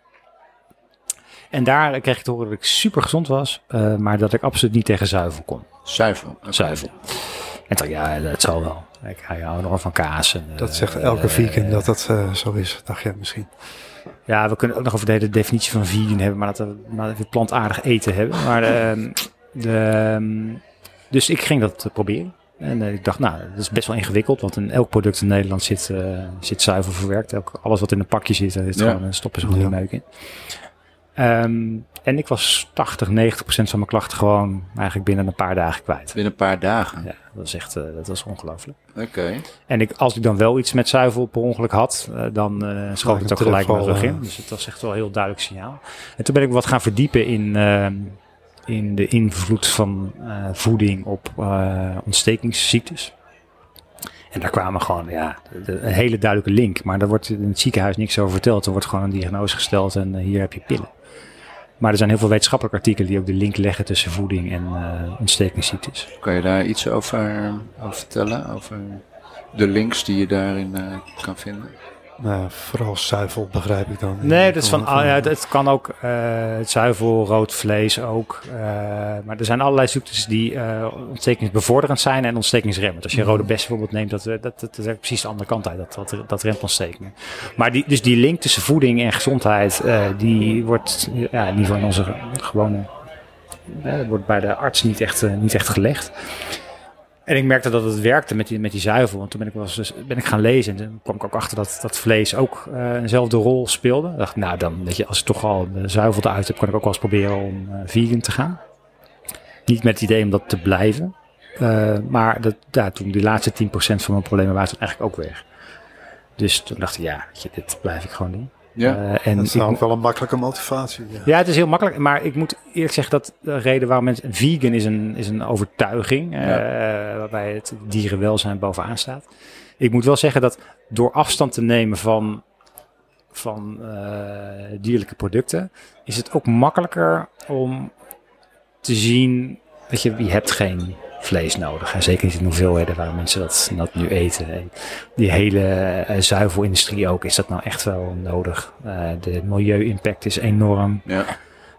D: En daar kreeg ik te horen dat ik super gezond was, eh, maar dat ik absoluut niet tegen zuivel kon.
B: Zuivel. oké.
D: Zuivel. En toen, ja, dat zal wel. Ik hou enorm van kaas. En,
C: Dat
D: eh,
C: zegt elke
D: eh,
C: vegan dat dat eh, zo is. Dacht jij misschien.
D: Ja, we kunnen ook nog over de hele definitie van vegan hebben, maar laten we, laten we plantaardig eten hebben. Maar ehm, de, ehm, dus ik ging dat eh, proberen. En eh, ik dacht, nou, dat is best wel ingewikkeld, want in elk product in Nederland zit, eh, zit zuivel verwerkt. Elk, alles wat in een pakje zit, daar zit
B: Ja.
D: gewoon, eh, stoppen ze gewoon
C: Ja.
D: de meuk in. Ehm, en ik was 80, 90 procent van mijn klachten gewoon eigenlijk binnen een paar dagen kwijt.
B: Binnen een paar dagen.
D: Ja, dat is echt, eh, dat was ongelooflijk.
B: Oké.
D: En ik, als ik dan wel iets met zuivel per ongeluk had, eh, dan eh schoot ik
C: een
D: het ook gelijk mijn
C: terugval,
D: rug in.
C: eh.
D: Dus het was echt wel een heel duidelijk signaal. En toen ben ik wat gaan verdiepen in, eh, in de invloed van eh, voeding op eh, ontstekingsziektes. En daar kwamen gewoon ja, de- een hele duidelijke link. Maar daar wordt in het ziekenhuis niks over verteld. Er wordt gewoon een diagnose gesteld en eh, hier heb je pillen. Maar er zijn heel veel wetenschappelijke artikelen die ook de link leggen tussen voeding en eh, ontstekingsziektes.
B: Kan je daar iets over, over vertellen? Over de links die je daarin eh, kan vinden?
C: Nou, vooral zuivel begrijp ik dan.
D: Nee, dat is van, ah, ja, het-
C: dat
D: het kan ook eh, het zuivel, rood vlees ook. eh, maar er zijn allerlei ziektes die eh ontstekingsbevorderend zijn en ontstekingsremmend. Als je rode bes bijvoorbeeld neemt, dat, eh, dat, dat, dat is precies de andere kant uit, dat, dat, dat remt ontstekingen. Maar die, dus die link tussen voeding en gezondheid, eh, die wordt ja, in ieder geval in onze ge- gewone... eh, dat wordt bij de arts niet echt, eh, niet echt gelegd. En ik merkte dat het werkte met die, met die zuivel. Want toen ben ik, wel eens, dus ben ik gaan lezen. En toen kwam ik ook achter dat, dat vlees ook eh, eenzelfde rol speelde. Ik dacht, nou dan, weet je, als ik toch al de zuivel eruit heb, kan ik ook wel eens proberen om eh, vegan te gaan. Niet met het idee om dat te blijven. Eh, maar dat, ja, toen die laatste 10% van mijn problemen waren toen eigenlijk ook weg. Dus toen dacht ik, ja, weet je, dit blijf ik gewoon doen.
B: Ja.
D: Eh, en
C: is
D: ik-
C: ook wel een makkelijke motivatie. Ja.
D: ja, het is heel makkelijk. Maar ik moet eerlijk zeggen dat de reden waarom mensen... Vegan is een, is een overtuiging. eh, waarbij het dierenwelzijn bovenaan staat. Ik moet wel zeggen dat door afstand te nemen van, van eh, dierlijke producten... is het ook makkelijker om te zien... dat je, je hebt geen vlees nodig. En zeker niet in hoeveelheden waar mensen dat, dat nu eten. En die hele eh, zuivelindustrie ook. Is dat nou echt wel nodig? Eh, de milieu-impact is enorm.
B: Ja.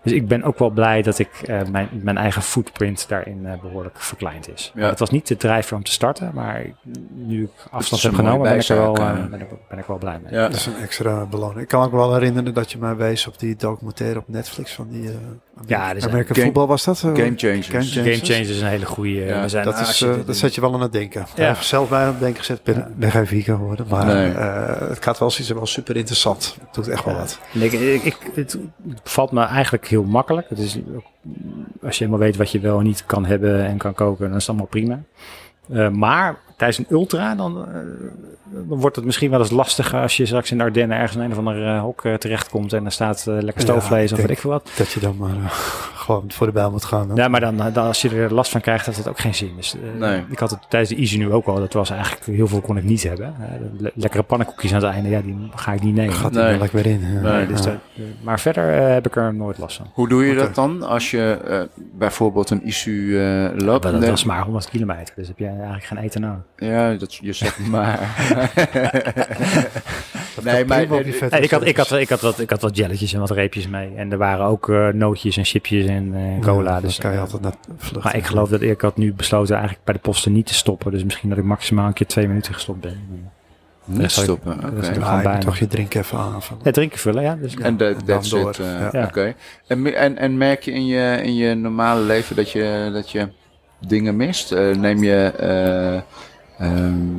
D: Dus ik ben ook wel blij dat ik eh, mijn, mijn eigen footprint daarin eh, behoorlijk verkleind is.
B: Ja.
D: Het was niet de drijfveer om te starten, maar ik- nu ik afstand
B: een
D: heb genomen,
B: mooie
D: ben ik, er wel,
B: bijzaak,
D: eh,
B: eh.
D: ben, ik, ben ik wel blij mee.
B: ja.
C: Dat is een extra beloning. Ik kan ook wel herinneren dat je mij wees op die documentaire op Netflix van die eh
D: Ja, dat is-
C: American
B: Game-
C: voetbal was dat? eh?
B: Game changers.
C: Game changers.
D: Game Changers is een hele goede.
B: Ja,
D: we zijn,
C: Dat,
D: als
C: is,
D: je
C: eh,
D: dit-
C: dat zet je wel aan het denken.
D: Ja.
C: Ik heb zelf bij aan het denken gezet. Ben, ben geen vegan geworden. Maar
B: Nee.
C: eh, het gaat wel zoiets wel super interessant. Het doet echt wel wat.
D: En Ik, ik, ik- het valt me eigenlijk heel makkelijk. Het is, ook- als je helemaal weet wat je wel en niet kan hebben en kan koken, dan is het allemaal prima. Eh, maar tijdens een ultra, dan, eh, dan wordt het misschien wel eens lastiger als je straks in de Ardennen ergens in een of ander eh, hok eh, terechtkomt en er staat eh, lekker
C: Ja,
D: stoofvlees
C: ik
D: of weet
C: denk-
D: ik veel wat.
C: Dat je dan maar eh, gewoon voor de bijl moet gaan. hè?
D: Ja, maar dan, dan als je er last van krijgt, heeft dat ook geen zin. Dus, eh,
B: Nee.
D: Ik had het tijdens de Easy nu ook al. Dat was eigenlijk heel veel kon ik niet hebben. Eh, de le- lekkere pannenkoekjes aan het einde, ja, die ga ik niet nemen.
C: Gaat
B: Nee.
C: er wel weer in. ja.
B: Nee,
D: Nee, dus
C: Ja.
D: dat- eh, maar verder eh, heb ik er nooit last van.
B: Hoe doe je dat dan als je eh, bijvoorbeeld een issue eh, loopt?
D: Maar dat
B: Nee,
D: was maar 100 kilometer, dus heb je eigenlijk geen eten nodig.
B: Ja, dat, je zegt maar. nee,
C: Prima
B: maar
C: op die vette
D: ik, had, ik, had,
C: service.
D: ik, had wat, ik had wat jelletjes en wat reepjes mee. En er waren ook eh, nootjes en chipjes en eh, cola.
C: Ja,
D: dus,
C: dan kan je altijd naar vluchten.
D: maar ik geloof dat ik had nu besloten eigenlijk bij de posten niet te stoppen. Dus misschien dat ik maximaal een keer twee minuten gestopt ben.
B: niet stoppen. Oké.
D: dat is
C: Ja,
D: gewoon
C: je moet
D: bijna.
C: toch je drink even aanvullen.
D: Ja, drinken vullen, ja. Dus,
B: En de-
C: dan
B: that's
C: door.
B: it. eh,
C: Ja.
B: Oké. En, me- en, en merk je in je, in je normale leven dat je, dat je dingen mist? Eh, neem je eh, ehm,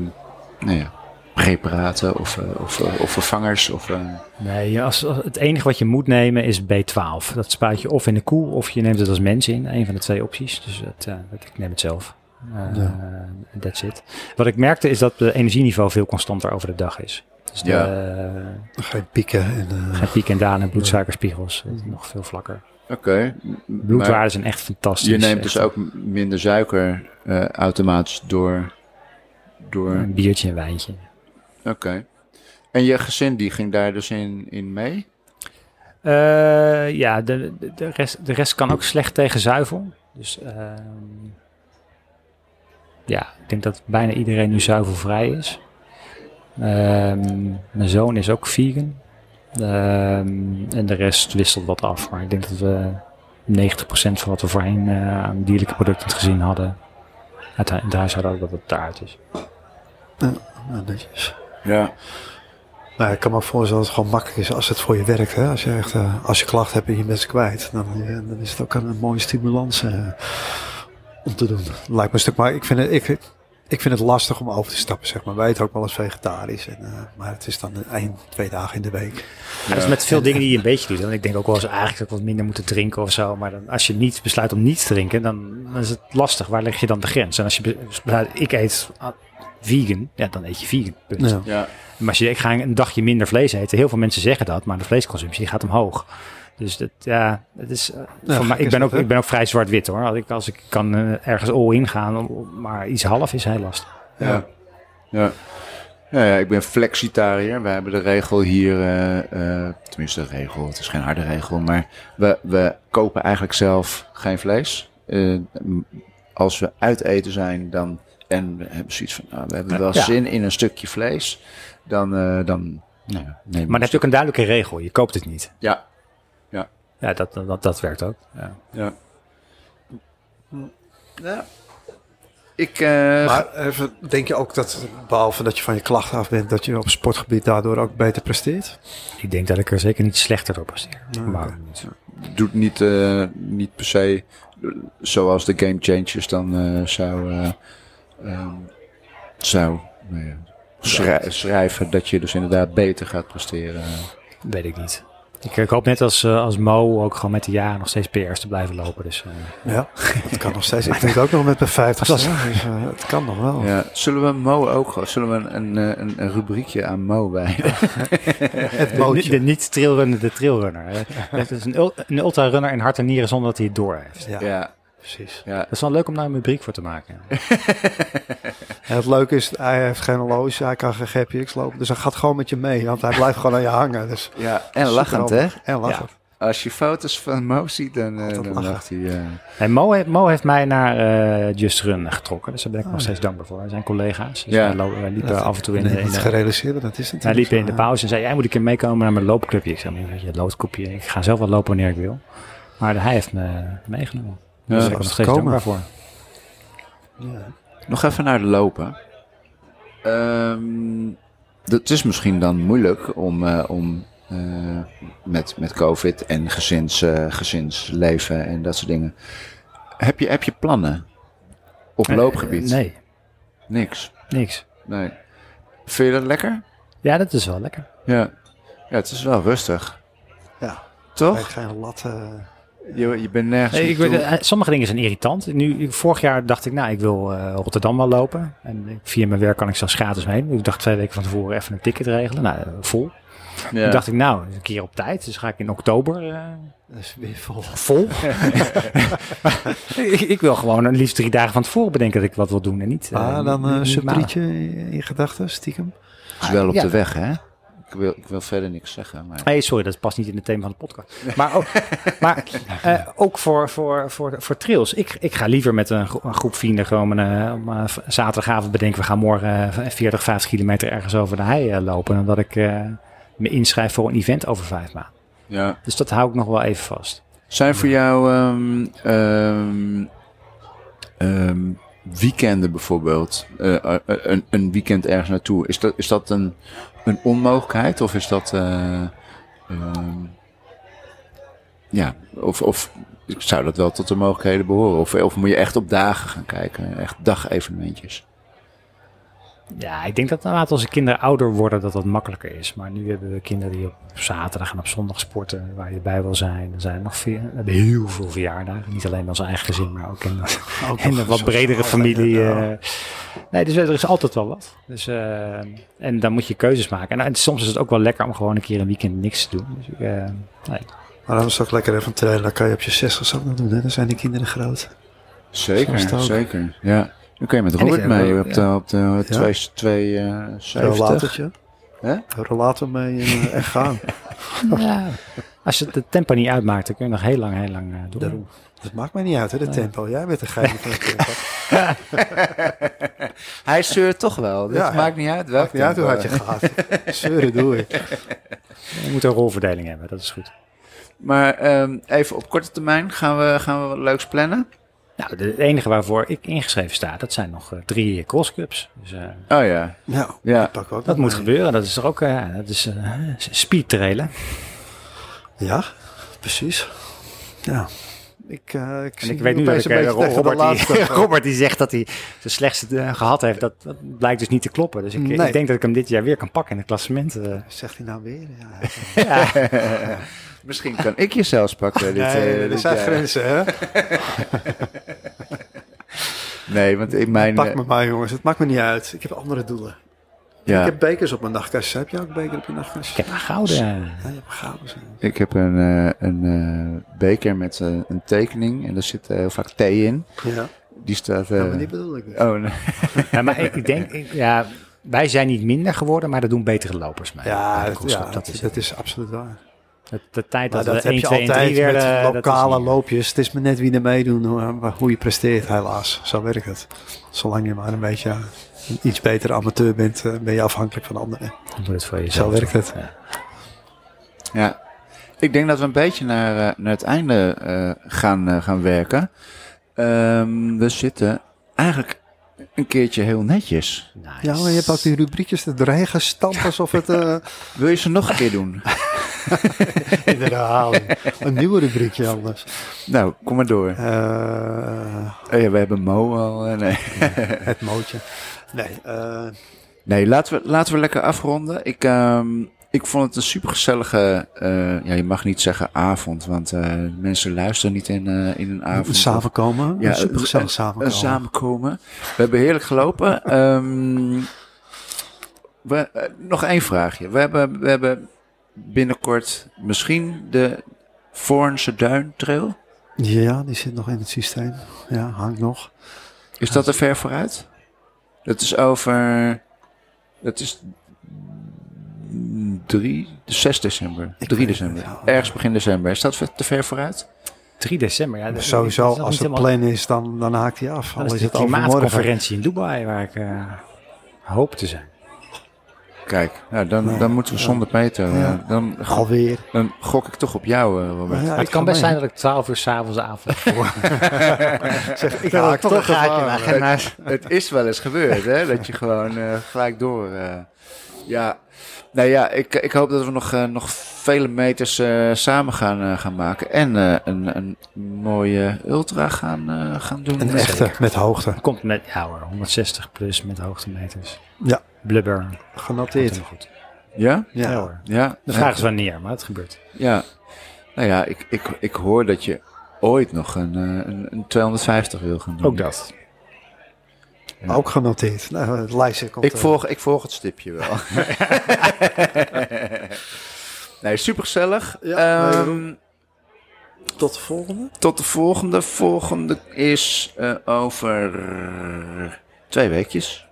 B: nou ja, preparaten of, eh, of, eh, of vervangers? Of, eh,
D: Nee, ja, als, als- het enige wat je moet nemen is B12. Dat spuit je of in de koe of je neemt het als mens in. Een van de twee opties. Dus het, eh, dat, ik neem het zelf. Eh That's it. Wat ik merkte is dat het energieniveau veel constanter over de dag is. Dus de,
B: Ja.
D: eh,
C: Dan ga je pieken. En, eh,
D: geen piek en dalen en bloedsuikerspiegels. dat is nog veel vlakker.
B: Oké. M-
D: Bloedwaarden
B: maar
D: zijn echt fantastisch.
B: Je neemt dus
D: Echt.
B: ook m- minder suiker eh, automatisch door. door
D: Een biertje en wijntje.
B: Oké. En je gezin die ging daar dus in, in mee?
D: Eh, ja, de, de, de rest, de rest kan ook slecht tegen zuivel. Dus ehm, ja, ik denk dat bijna iedereen nu zuivelvrij is. Ehm, mijn zoon is ook vegan. Ehm, en de rest wisselt wat af. Maar ik denk dat we 90% van wat we voorheen eh, aan dierlijke producten gezien hadden, uit hu- in het huis hadden, ook dat het daaruit is.
C: Nou, netjes.
B: Ja.
C: Maar Nou, ik kan me ook voorstellen dat het gewoon makkelijk is als het voor je werkt. Hè? Als, je echt, eh, als je klachten hebt en je bent ze kwijt, dan, eh, dan is het ook een mooie stimulans eh, om te doen. Lijkt me een stuk, maar ik vind het, ik, ik vind het lastig om over te stappen, zeg maar. Wij eten ook wel eens vegetarisch, en, eh, maar het is dan één, twee dagen in de week.
D: Ja, dat is met veel dingen die je een beetje doet. En ik denk ook wel eens eigenlijk dat ik wat minder moeten drinken of zo. Maar dan, als je niet besluit om niet te drinken, dan, dan is het lastig. Waar leg je dan de grens? En als je be- besluit, ik eet ah, vegan, ja, dan eet je vegan. Punt.
C: Ja.
B: Ja.
D: Maar als je denkt, ik ga een dagje minder vlees eten. Heel veel mensen zeggen dat, maar de vleesconsumptie die gaat omhoog. Dus dat, ja, dat is, eh,
C: Ja,
D: voor mij,
C: gek
D: ik,
C: is
D: ben
C: dat,
D: ook,
C: hè?
D: ik ben ook vrij zwart-wit hoor. Als ik, als ik kan eh, ergens all in gaan, om- maar iets half is heel lastig.
B: Ja. Ja. Ja, ja, ik ben flexitariër. We hebben de regel hier, eh, eh, tenminste de regel, het is geen harde regel, maar we, we kopen eigenlijk zelf geen vlees. Eh, m- als we uit eten zijn dan, en we hebben zoiets van, nou, we hebben wel
D: Ja.
B: zin in een stukje vlees, dan, eh, dan nou, ja, nemen we
D: Maar dan heb je ook een duidelijke regel. Je koopt het niet.
B: Ja,
D: Ja, dat, dat, dat werkt ook. Ja.
B: ja. ja. Ik, eh,
C: Maar even, denk je ook dat, behalve dat je van je klachten af bent, dat je op sportgebied daardoor ook beter presteert?
D: Ik denk dat ik er zeker niet slechter op presteer. Maar goed.
B: doet niet, eh, niet per se eh, zoals de Game Changers dan eh, zou, eh, ehm, zou nou ja, schrij- schrijven dat je dus inderdaad beter gaat presteren.
D: weet ik niet. Ik, ik hoop net als, eh, als Mo ook gewoon met de jaren nog steeds PR's te blijven lopen. Dus, eh,
C: Ja, dat kan nog steeds. Ik denk ook nog met mijn 50 dus, eh, Het kan nog wel.
B: Ja. Zullen we Mo ook gewoon- zullen we een, een, eh, een, een rubriekje aan Mo bij?
C: Het
D: de,
C: bootje.
D: de niet-trailrunner, de trailrunner. hè. Dat is een, ul- een ultrarunner in hart en nieren zonder dat hij het door heeft.
C: Ja,
B: ja,
C: precies.
B: ja.
D: Dat is wel leuk om daar een rubriek voor te maken.
C: En het leuke is, hij heeft geen horloge, hij kan geen GPX lopen. Dus hij gaat gewoon met je mee, want hij blijft gewoon aan je hangen. Dus
B: Ja, en lachend hè?
C: superhandig. En lachend.
B: Als je foto's van Mo ziet, dan, eh,
C: Altijd
B: dan
C: lachen.
B: lacht hij. eh.
D: En Mo, heeft- Mo heeft mij naar eh, Just Run getrokken. Dus daar ben ik nog steeds dankbaar voor. Hij zijn collega's. Dus
B: Ja.
D: wij, lo- wij liepen
C: Oh, Dat-
D: af en toe in,
C: nee,
D: de- in
C: niet
D: de-
C: gerealiseerd, dat is
D: Hij
C: natuurlijk
D: liep
C: zo,
D: in de
C: ja.
D: pauze en zei, jij moet een keer meekomen naar mijn loopclubje. Ik zei, weet je, loopclubje, ik ga zelf wel lopen wanneer ik wil. Maar hij heeft me meegenomen.
B: Ja,
D: Daar ben
C: dat
D: ik nog
C: is
D: steeds
C: komen.
D: dankbaar voor.
B: Nog even naar de lopen. Ehm het is misschien dan moeilijk om, eh, om eh, met, met COVID en gezins, eh, gezinsleven en dat soort dingen. Heb je, heb je plannen op loopgebied?
D: Eh, nee,
B: Niks.
D: niks.
B: Nee. Vind je dat lekker?
D: Ja, dat is wel lekker.
B: Ja. ja het is wel rustig.
C: Ja. Hij heeft
B: Toch?
C: geen lat. eh,
B: Je, je bent nergens.
D: Nee, ik weet,
B: naartoe.
D: eh, sommige dingen zijn irritant. Nu, vorig jaar dacht ik, nou, ik wil eh, Rotterdam wel lopen. En ik- via mijn werk kan ik zelfs gratis heen. Ik dacht twee weken van tevoren even een ticket regelen. Nou, eh, vol.
B: ja.
D: Toen dacht ik, nou, een keer op tijd. Dus ga ik in oktober eh,
C: dat is weer vol.
D: vol. ik, ik wil gewoon een liefst drie dagen van tevoren bedenken dat ik wat wil doen en niet. eh,
C: Ah, dan eh, een
D: niet maandag.
C: subrietje in, in gedachten, stiekem.
B: Het is wel op
D: Ah, ja.
B: de weg, hè? Ik wil, ik wil verder niks zeggen. Maar...
D: Nee, sorry, dat past niet in het thema van de podcast. Maar ook, maar, eh, ook voor, voor, voor, voor trails. Ik, ik ga liever met een, gro- een groep vrienden gewoon eh, om, eh, v- zaterdagavond bedenken... we gaan morgen eh, 40, 50 kilometer ergens over de hei eh, lopen... dan dat ik eh, me inschrijf voor een event over vijf maanden.
B: Ja.
D: Dus dat hou ik nog wel even vast.
B: Zijn voor jou ehm, ehm, ehm, weekenden bijvoorbeeld, eh, eh, een, een weekend ergens naartoe, is dat, is dat een, een onmogelijkheid of is dat... eh, ehm, ja, of, of zou dat wel tot de mogelijkheden behoren? Of, of moet je echt op dagen gaan kijken, echt dagevenementjes?
D: Ja, ik denk dat naarmate onze kinderen ouder worden dat dat makkelijker is. Maar nu hebben we kinderen die op zaterdag en op zondag sporten, waar je bij wil zijn. Er zijn nog veel, we hebben heel veel verjaardagen. Niet alleen bij ons eigen gezin, maar ook in, en een wat bredere familie. eh. nee, dus er is altijd wel wat. Dus, eh, en dan moet je keuzes maken. En, nou, en soms is het ook wel lekker om gewoon een keer een weekend niks te doen. Dus, ik, eh, nee.
C: Maar dan is het ook lekker even trainen. Dan kan je op je 60 ook nog doen. Hè? Dan zijn die kinderen groot. Zo is het
B: Zeker,
C: ook.
B: zeker. Ja. Dan kun je met
D: En ik
B: Robert
D: denk
B: mee
D: dat-
B: op de, op de
C: Ja.
B: 2, 2, eh,
C: Zo'n
B: 70.
C: watertje.
B: Hè?
C: Relator mee en, eh, en gaan.
D: Als het de tempo niet uitmaakt, dan kun je nog heel lang, heel lang eh, doen.
C: Daarom. Dat maakt mij niet uit, hè, de tempo. Jij bent een geheim van het tempo.
B: Hij zeurt toch wel. Dat
C: Ja, ja.
B: maakt niet uit welk
C: Ja, toen
B: tempo.
C: had je gehad. Zeuren doe ik.
D: Je moet een rolverdeling hebben, dat is goed.
B: Maar ehm, even op korte termijn gaan we, gaan we wat leuks plannen.
D: Nou, de- het enige waarvoor ik ingeschreven sta, dat zijn nog eh, drie crosscups. Dus eh,
B: Oh ja,
C: Nou,
B: ja.
C: ik pak ook nog
D: dat moet
C: een.
D: gebeuren. Dat is toch ook eh, dat is, eh, speed trailen.
C: Ja, precies. Ja. Ik, eh, ik
D: En
C: zie
D: ik weet nu dat
C: opeens
D: ik,
C: een
D: eh,
C: beetje tegen de
D: Robert, die,
C: laatste.
D: Robert die zegt dat hij de slechtste eh, gehad heeft. Dat, dat blijkt dus niet te kloppen. Dus ik, ik
C: Nee.
D: denk dat ik hem dit jaar weer kan pakken in het klassement. eh.
C: Zegt hij nou weer? Ja.
B: Misschien kan ik je zelfs pakken. dit, eh,
C: Nee, er
B: dit
C: zijn
B: jaar.
C: grenzen, hè?
B: Nee, want in mijn...
C: Pak
B: eh,
C: me maar, jongens. Het maakt me niet uit. Ik heb andere doelen.
B: ja,
C: Ik heb bekers op mijn nachtkast. Heb jij ook een beker op je nachtkast?
D: ik heb een gouden.
C: Ja, je hebt een gouden. zo.
B: een, eh, een eh, beker met eh, een tekening. En daar zit eh, heel vaak thee in.
C: Ja,
B: Die staat... eh,
C: ja maar die bedoel ik dus. niet.
B: Oh, nee.
D: Ja, maar ik, ik denk, ik- ja, wij zijn niet minder geworden, maar dat doen betere lopers mee.
C: Ja,
D: de
C: dat,
D: crosscup,
C: ja,
D: dat is het.
C: absoluut waar.
D: De, de tijd
C: Maar
D: dat,
C: Nou, dat
D: we
C: heb
D: 1,
C: je
D: 2 en 3
C: altijd
D: werden.
C: met
D: dat is
C: lokale
D: niet-
C: loopjes. Het is maar net wie er meedoet, hoe, hoe je presteert helaas. Zo werkt het. Zolang je maar een beetje ja, een iets betere amateur bent, eh, ben je afhankelijk van anderen.
D: Doe het voor
C: Zo
D: jezelf.
C: werkt het.
B: Ja, ik denk dat we een beetje naar, eh, naar het einde eh, gaan, eh, gaan werken. Ehm, we zitten eigenlijk een keertje heel netjes.
D: Nice.
C: Ja, maar je hebt ook die rubriekjes er doorheen gestampt alsof het eh,
B: Wil je ze nog een keer doen?
C: in de herhaling. Een nieuwe rubriekje anders.
B: nou, kom maar door.
C: Eh,
B: Oh ja, we hebben Mo al. eh, nee.
C: het mootje. Nee, eh,
B: nee, laten we, laten we lekker afronden. Ik, ehm, ik vond het een supergezellige, eh, ja, je mag niet zeggen avond, want eh, mensen luisteren niet in, eh, in een avond.
C: een samenkomen.
B: Ja,
C: een supergezellig
B: een
C: samenkomen.
B: samenkomen. We hebben heerlijk gelopen. Ehm, we, eh, nog één vraagje. We hebben, we hebben binnenkort misschien de Voornse Duin Trail.
C: Ja, die zit nog in het systeem. Ja, hangt nog.
B: Is dat er ver vooruit? Dat is over. Dat is. 3, 6 december. 3
C: Ik weet het niet,
B: december.
C: ja.
B: Ergens begin december. Is dat te ver vooruit?
D: 3 december. Ja, dat- dat
C: Sowieso,
D: is nog
C: als
D: niet
C: het
D: helemaal-
C: plan is, dan, dan haakt hij af. Al
D: Dat is
C: is
D: de
C: het overmorgen.
D: klimaatconferentie in Dubai waar ik eh, hoop te zijn.
B: Kijk, nou, dan, dan moeten we zonder Peter. eh,
C: Ja.
B: Dan,
C: Alweer.
B: dan gok ik toch op jou, eh, Robert.
C: Ja,
D: Maar het
C: ik
D: kan
C: ga
D: best
C: mee.
D: zijn dat ik 12 uur s'avonds avond voor.
C: Ik haak toch een gaatje in de agenda.
B: het is wel eens gebeurd, hè? Dat je gewoon eh, gelijk door. eh, ja. Nou ja, ik, ik hoop dat we nog, eh, nog vele meters eh, samen gaan, eh, gaan maken. En eh, een, een mooie ultra gaan, eh, gaan doen.
C: Een echte, met hoogte.
D: Komt met, ja hoor, 160 plus met hoogtemeters.
C: Ja.
D: Blubber. Komt
C: Genoteerd.
D: helemaal goed.
B: Ja?
D: Ja,
C: Ja,
D: hoor.
B: Ja.
D: De vraag is wanneer, maar het gebeurt.
B: Ja. Nou ja, ik, ik, ik hoor dat je ooit nog een, eh, een, een 250 wil gaan doen.
D: Ook dat.
B: Ja.
C: ook genoteerd. Nou, het lijstje komt
B: Ik
C: er.
B: volg, ik volg het stipje wel. nee, supergezellig.
C: Ja,
B: Ehm,
C: tot de volgende.
B: tot de volgende. Volgende is eh, over twee weekjes.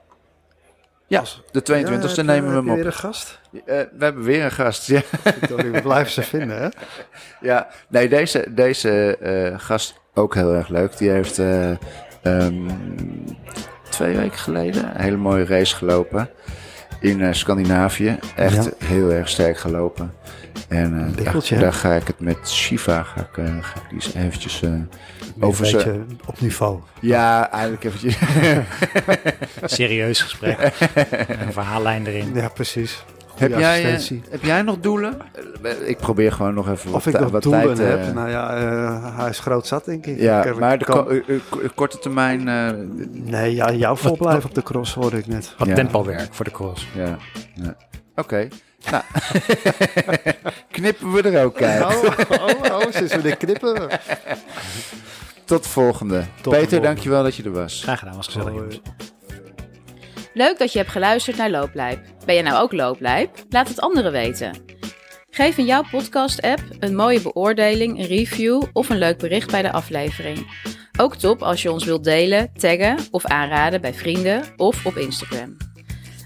B: Ja,
C: Als-
B: de 22e
C: Ja, heb je-
B: nemen we
C: heb
B: hem
C: je weer
B: op.
C: een gast?
B: Eh, we hebben weer een gast. Ja,
C: Victoria, we blijven ze vinden, hè?
B: ja. nee, deze, deze eh, gast ook heel erg leuk. Die heeft eh, ehm, twee weken geleden een hele mooie race gelopen. In eh, Scandinavië. Echt
C: Ja.
B: heel erg sterk gelopen. En eh,
C: Bikkeltje,
B: daar,
C: hè?
B: daar ga ik het met Shiva. Ga ik, eh, ga ik die eens eventjes eh, over
C: een
B: zijn-
C: beetje op niveau.
B: Ja, eigenlijk eventjes.
D: Serieus gesprek. een verhaallijn erin.
C: Ja, precies. Goede
B: heb, jij, eh,
C: assistentie.
B: heb jij nog doelen? Eh, Ik probeer gewoon nog even
C: Of
B: wat,
C: ik
B: ti-
C: nog
B: wat
C: doelen
B: tijd... eh,
C: heb? Nou ja, eh, hij is groot zat, denk ik. Ik
B: ja,
C: heb-
B: maar
C: ik
B: de
C: kan-
B: ko- eh, eh, ko- korte termijn... eh,
C: Nee, ja, jou voorblijven op de cross hoorde ik net.
D: Wat
B: Ja.
D: tempo-werk voor de cross.
B: ja, ja. Oké. Nou, knippen we er ook uit.
C: oh, oh, sinds we dit knippen.
B: Tot de volgende.
C: de
B: Peter,
C: volgende.
B: dankjewel dat je er was.
D: Graag gedaan, was gezellig. jongens.
A: Leuk dat je hebt geluisterd naar Looplijp. Ben je nou ook Looplijp? Laat het anderen weten. Geef in jouw podcast-app een mooie beoordeling, een review of een leuk bericht bij de aflevering. Ook top als je ons wilt delen, taggen of aanraden bij vrienden of op Instagram.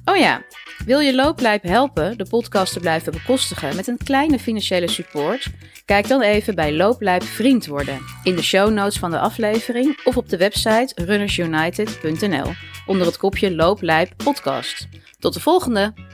A: Oh ja, Wil je Looplijp helpen de podcast te blijven bekostigen met een kleine financiële support? Kijk dan even bij Looplijp Vriend worden in de show notes van de aflevering of op de website runnersunited.nl onder het kopje Looplijp Podcast. Tot de volgende!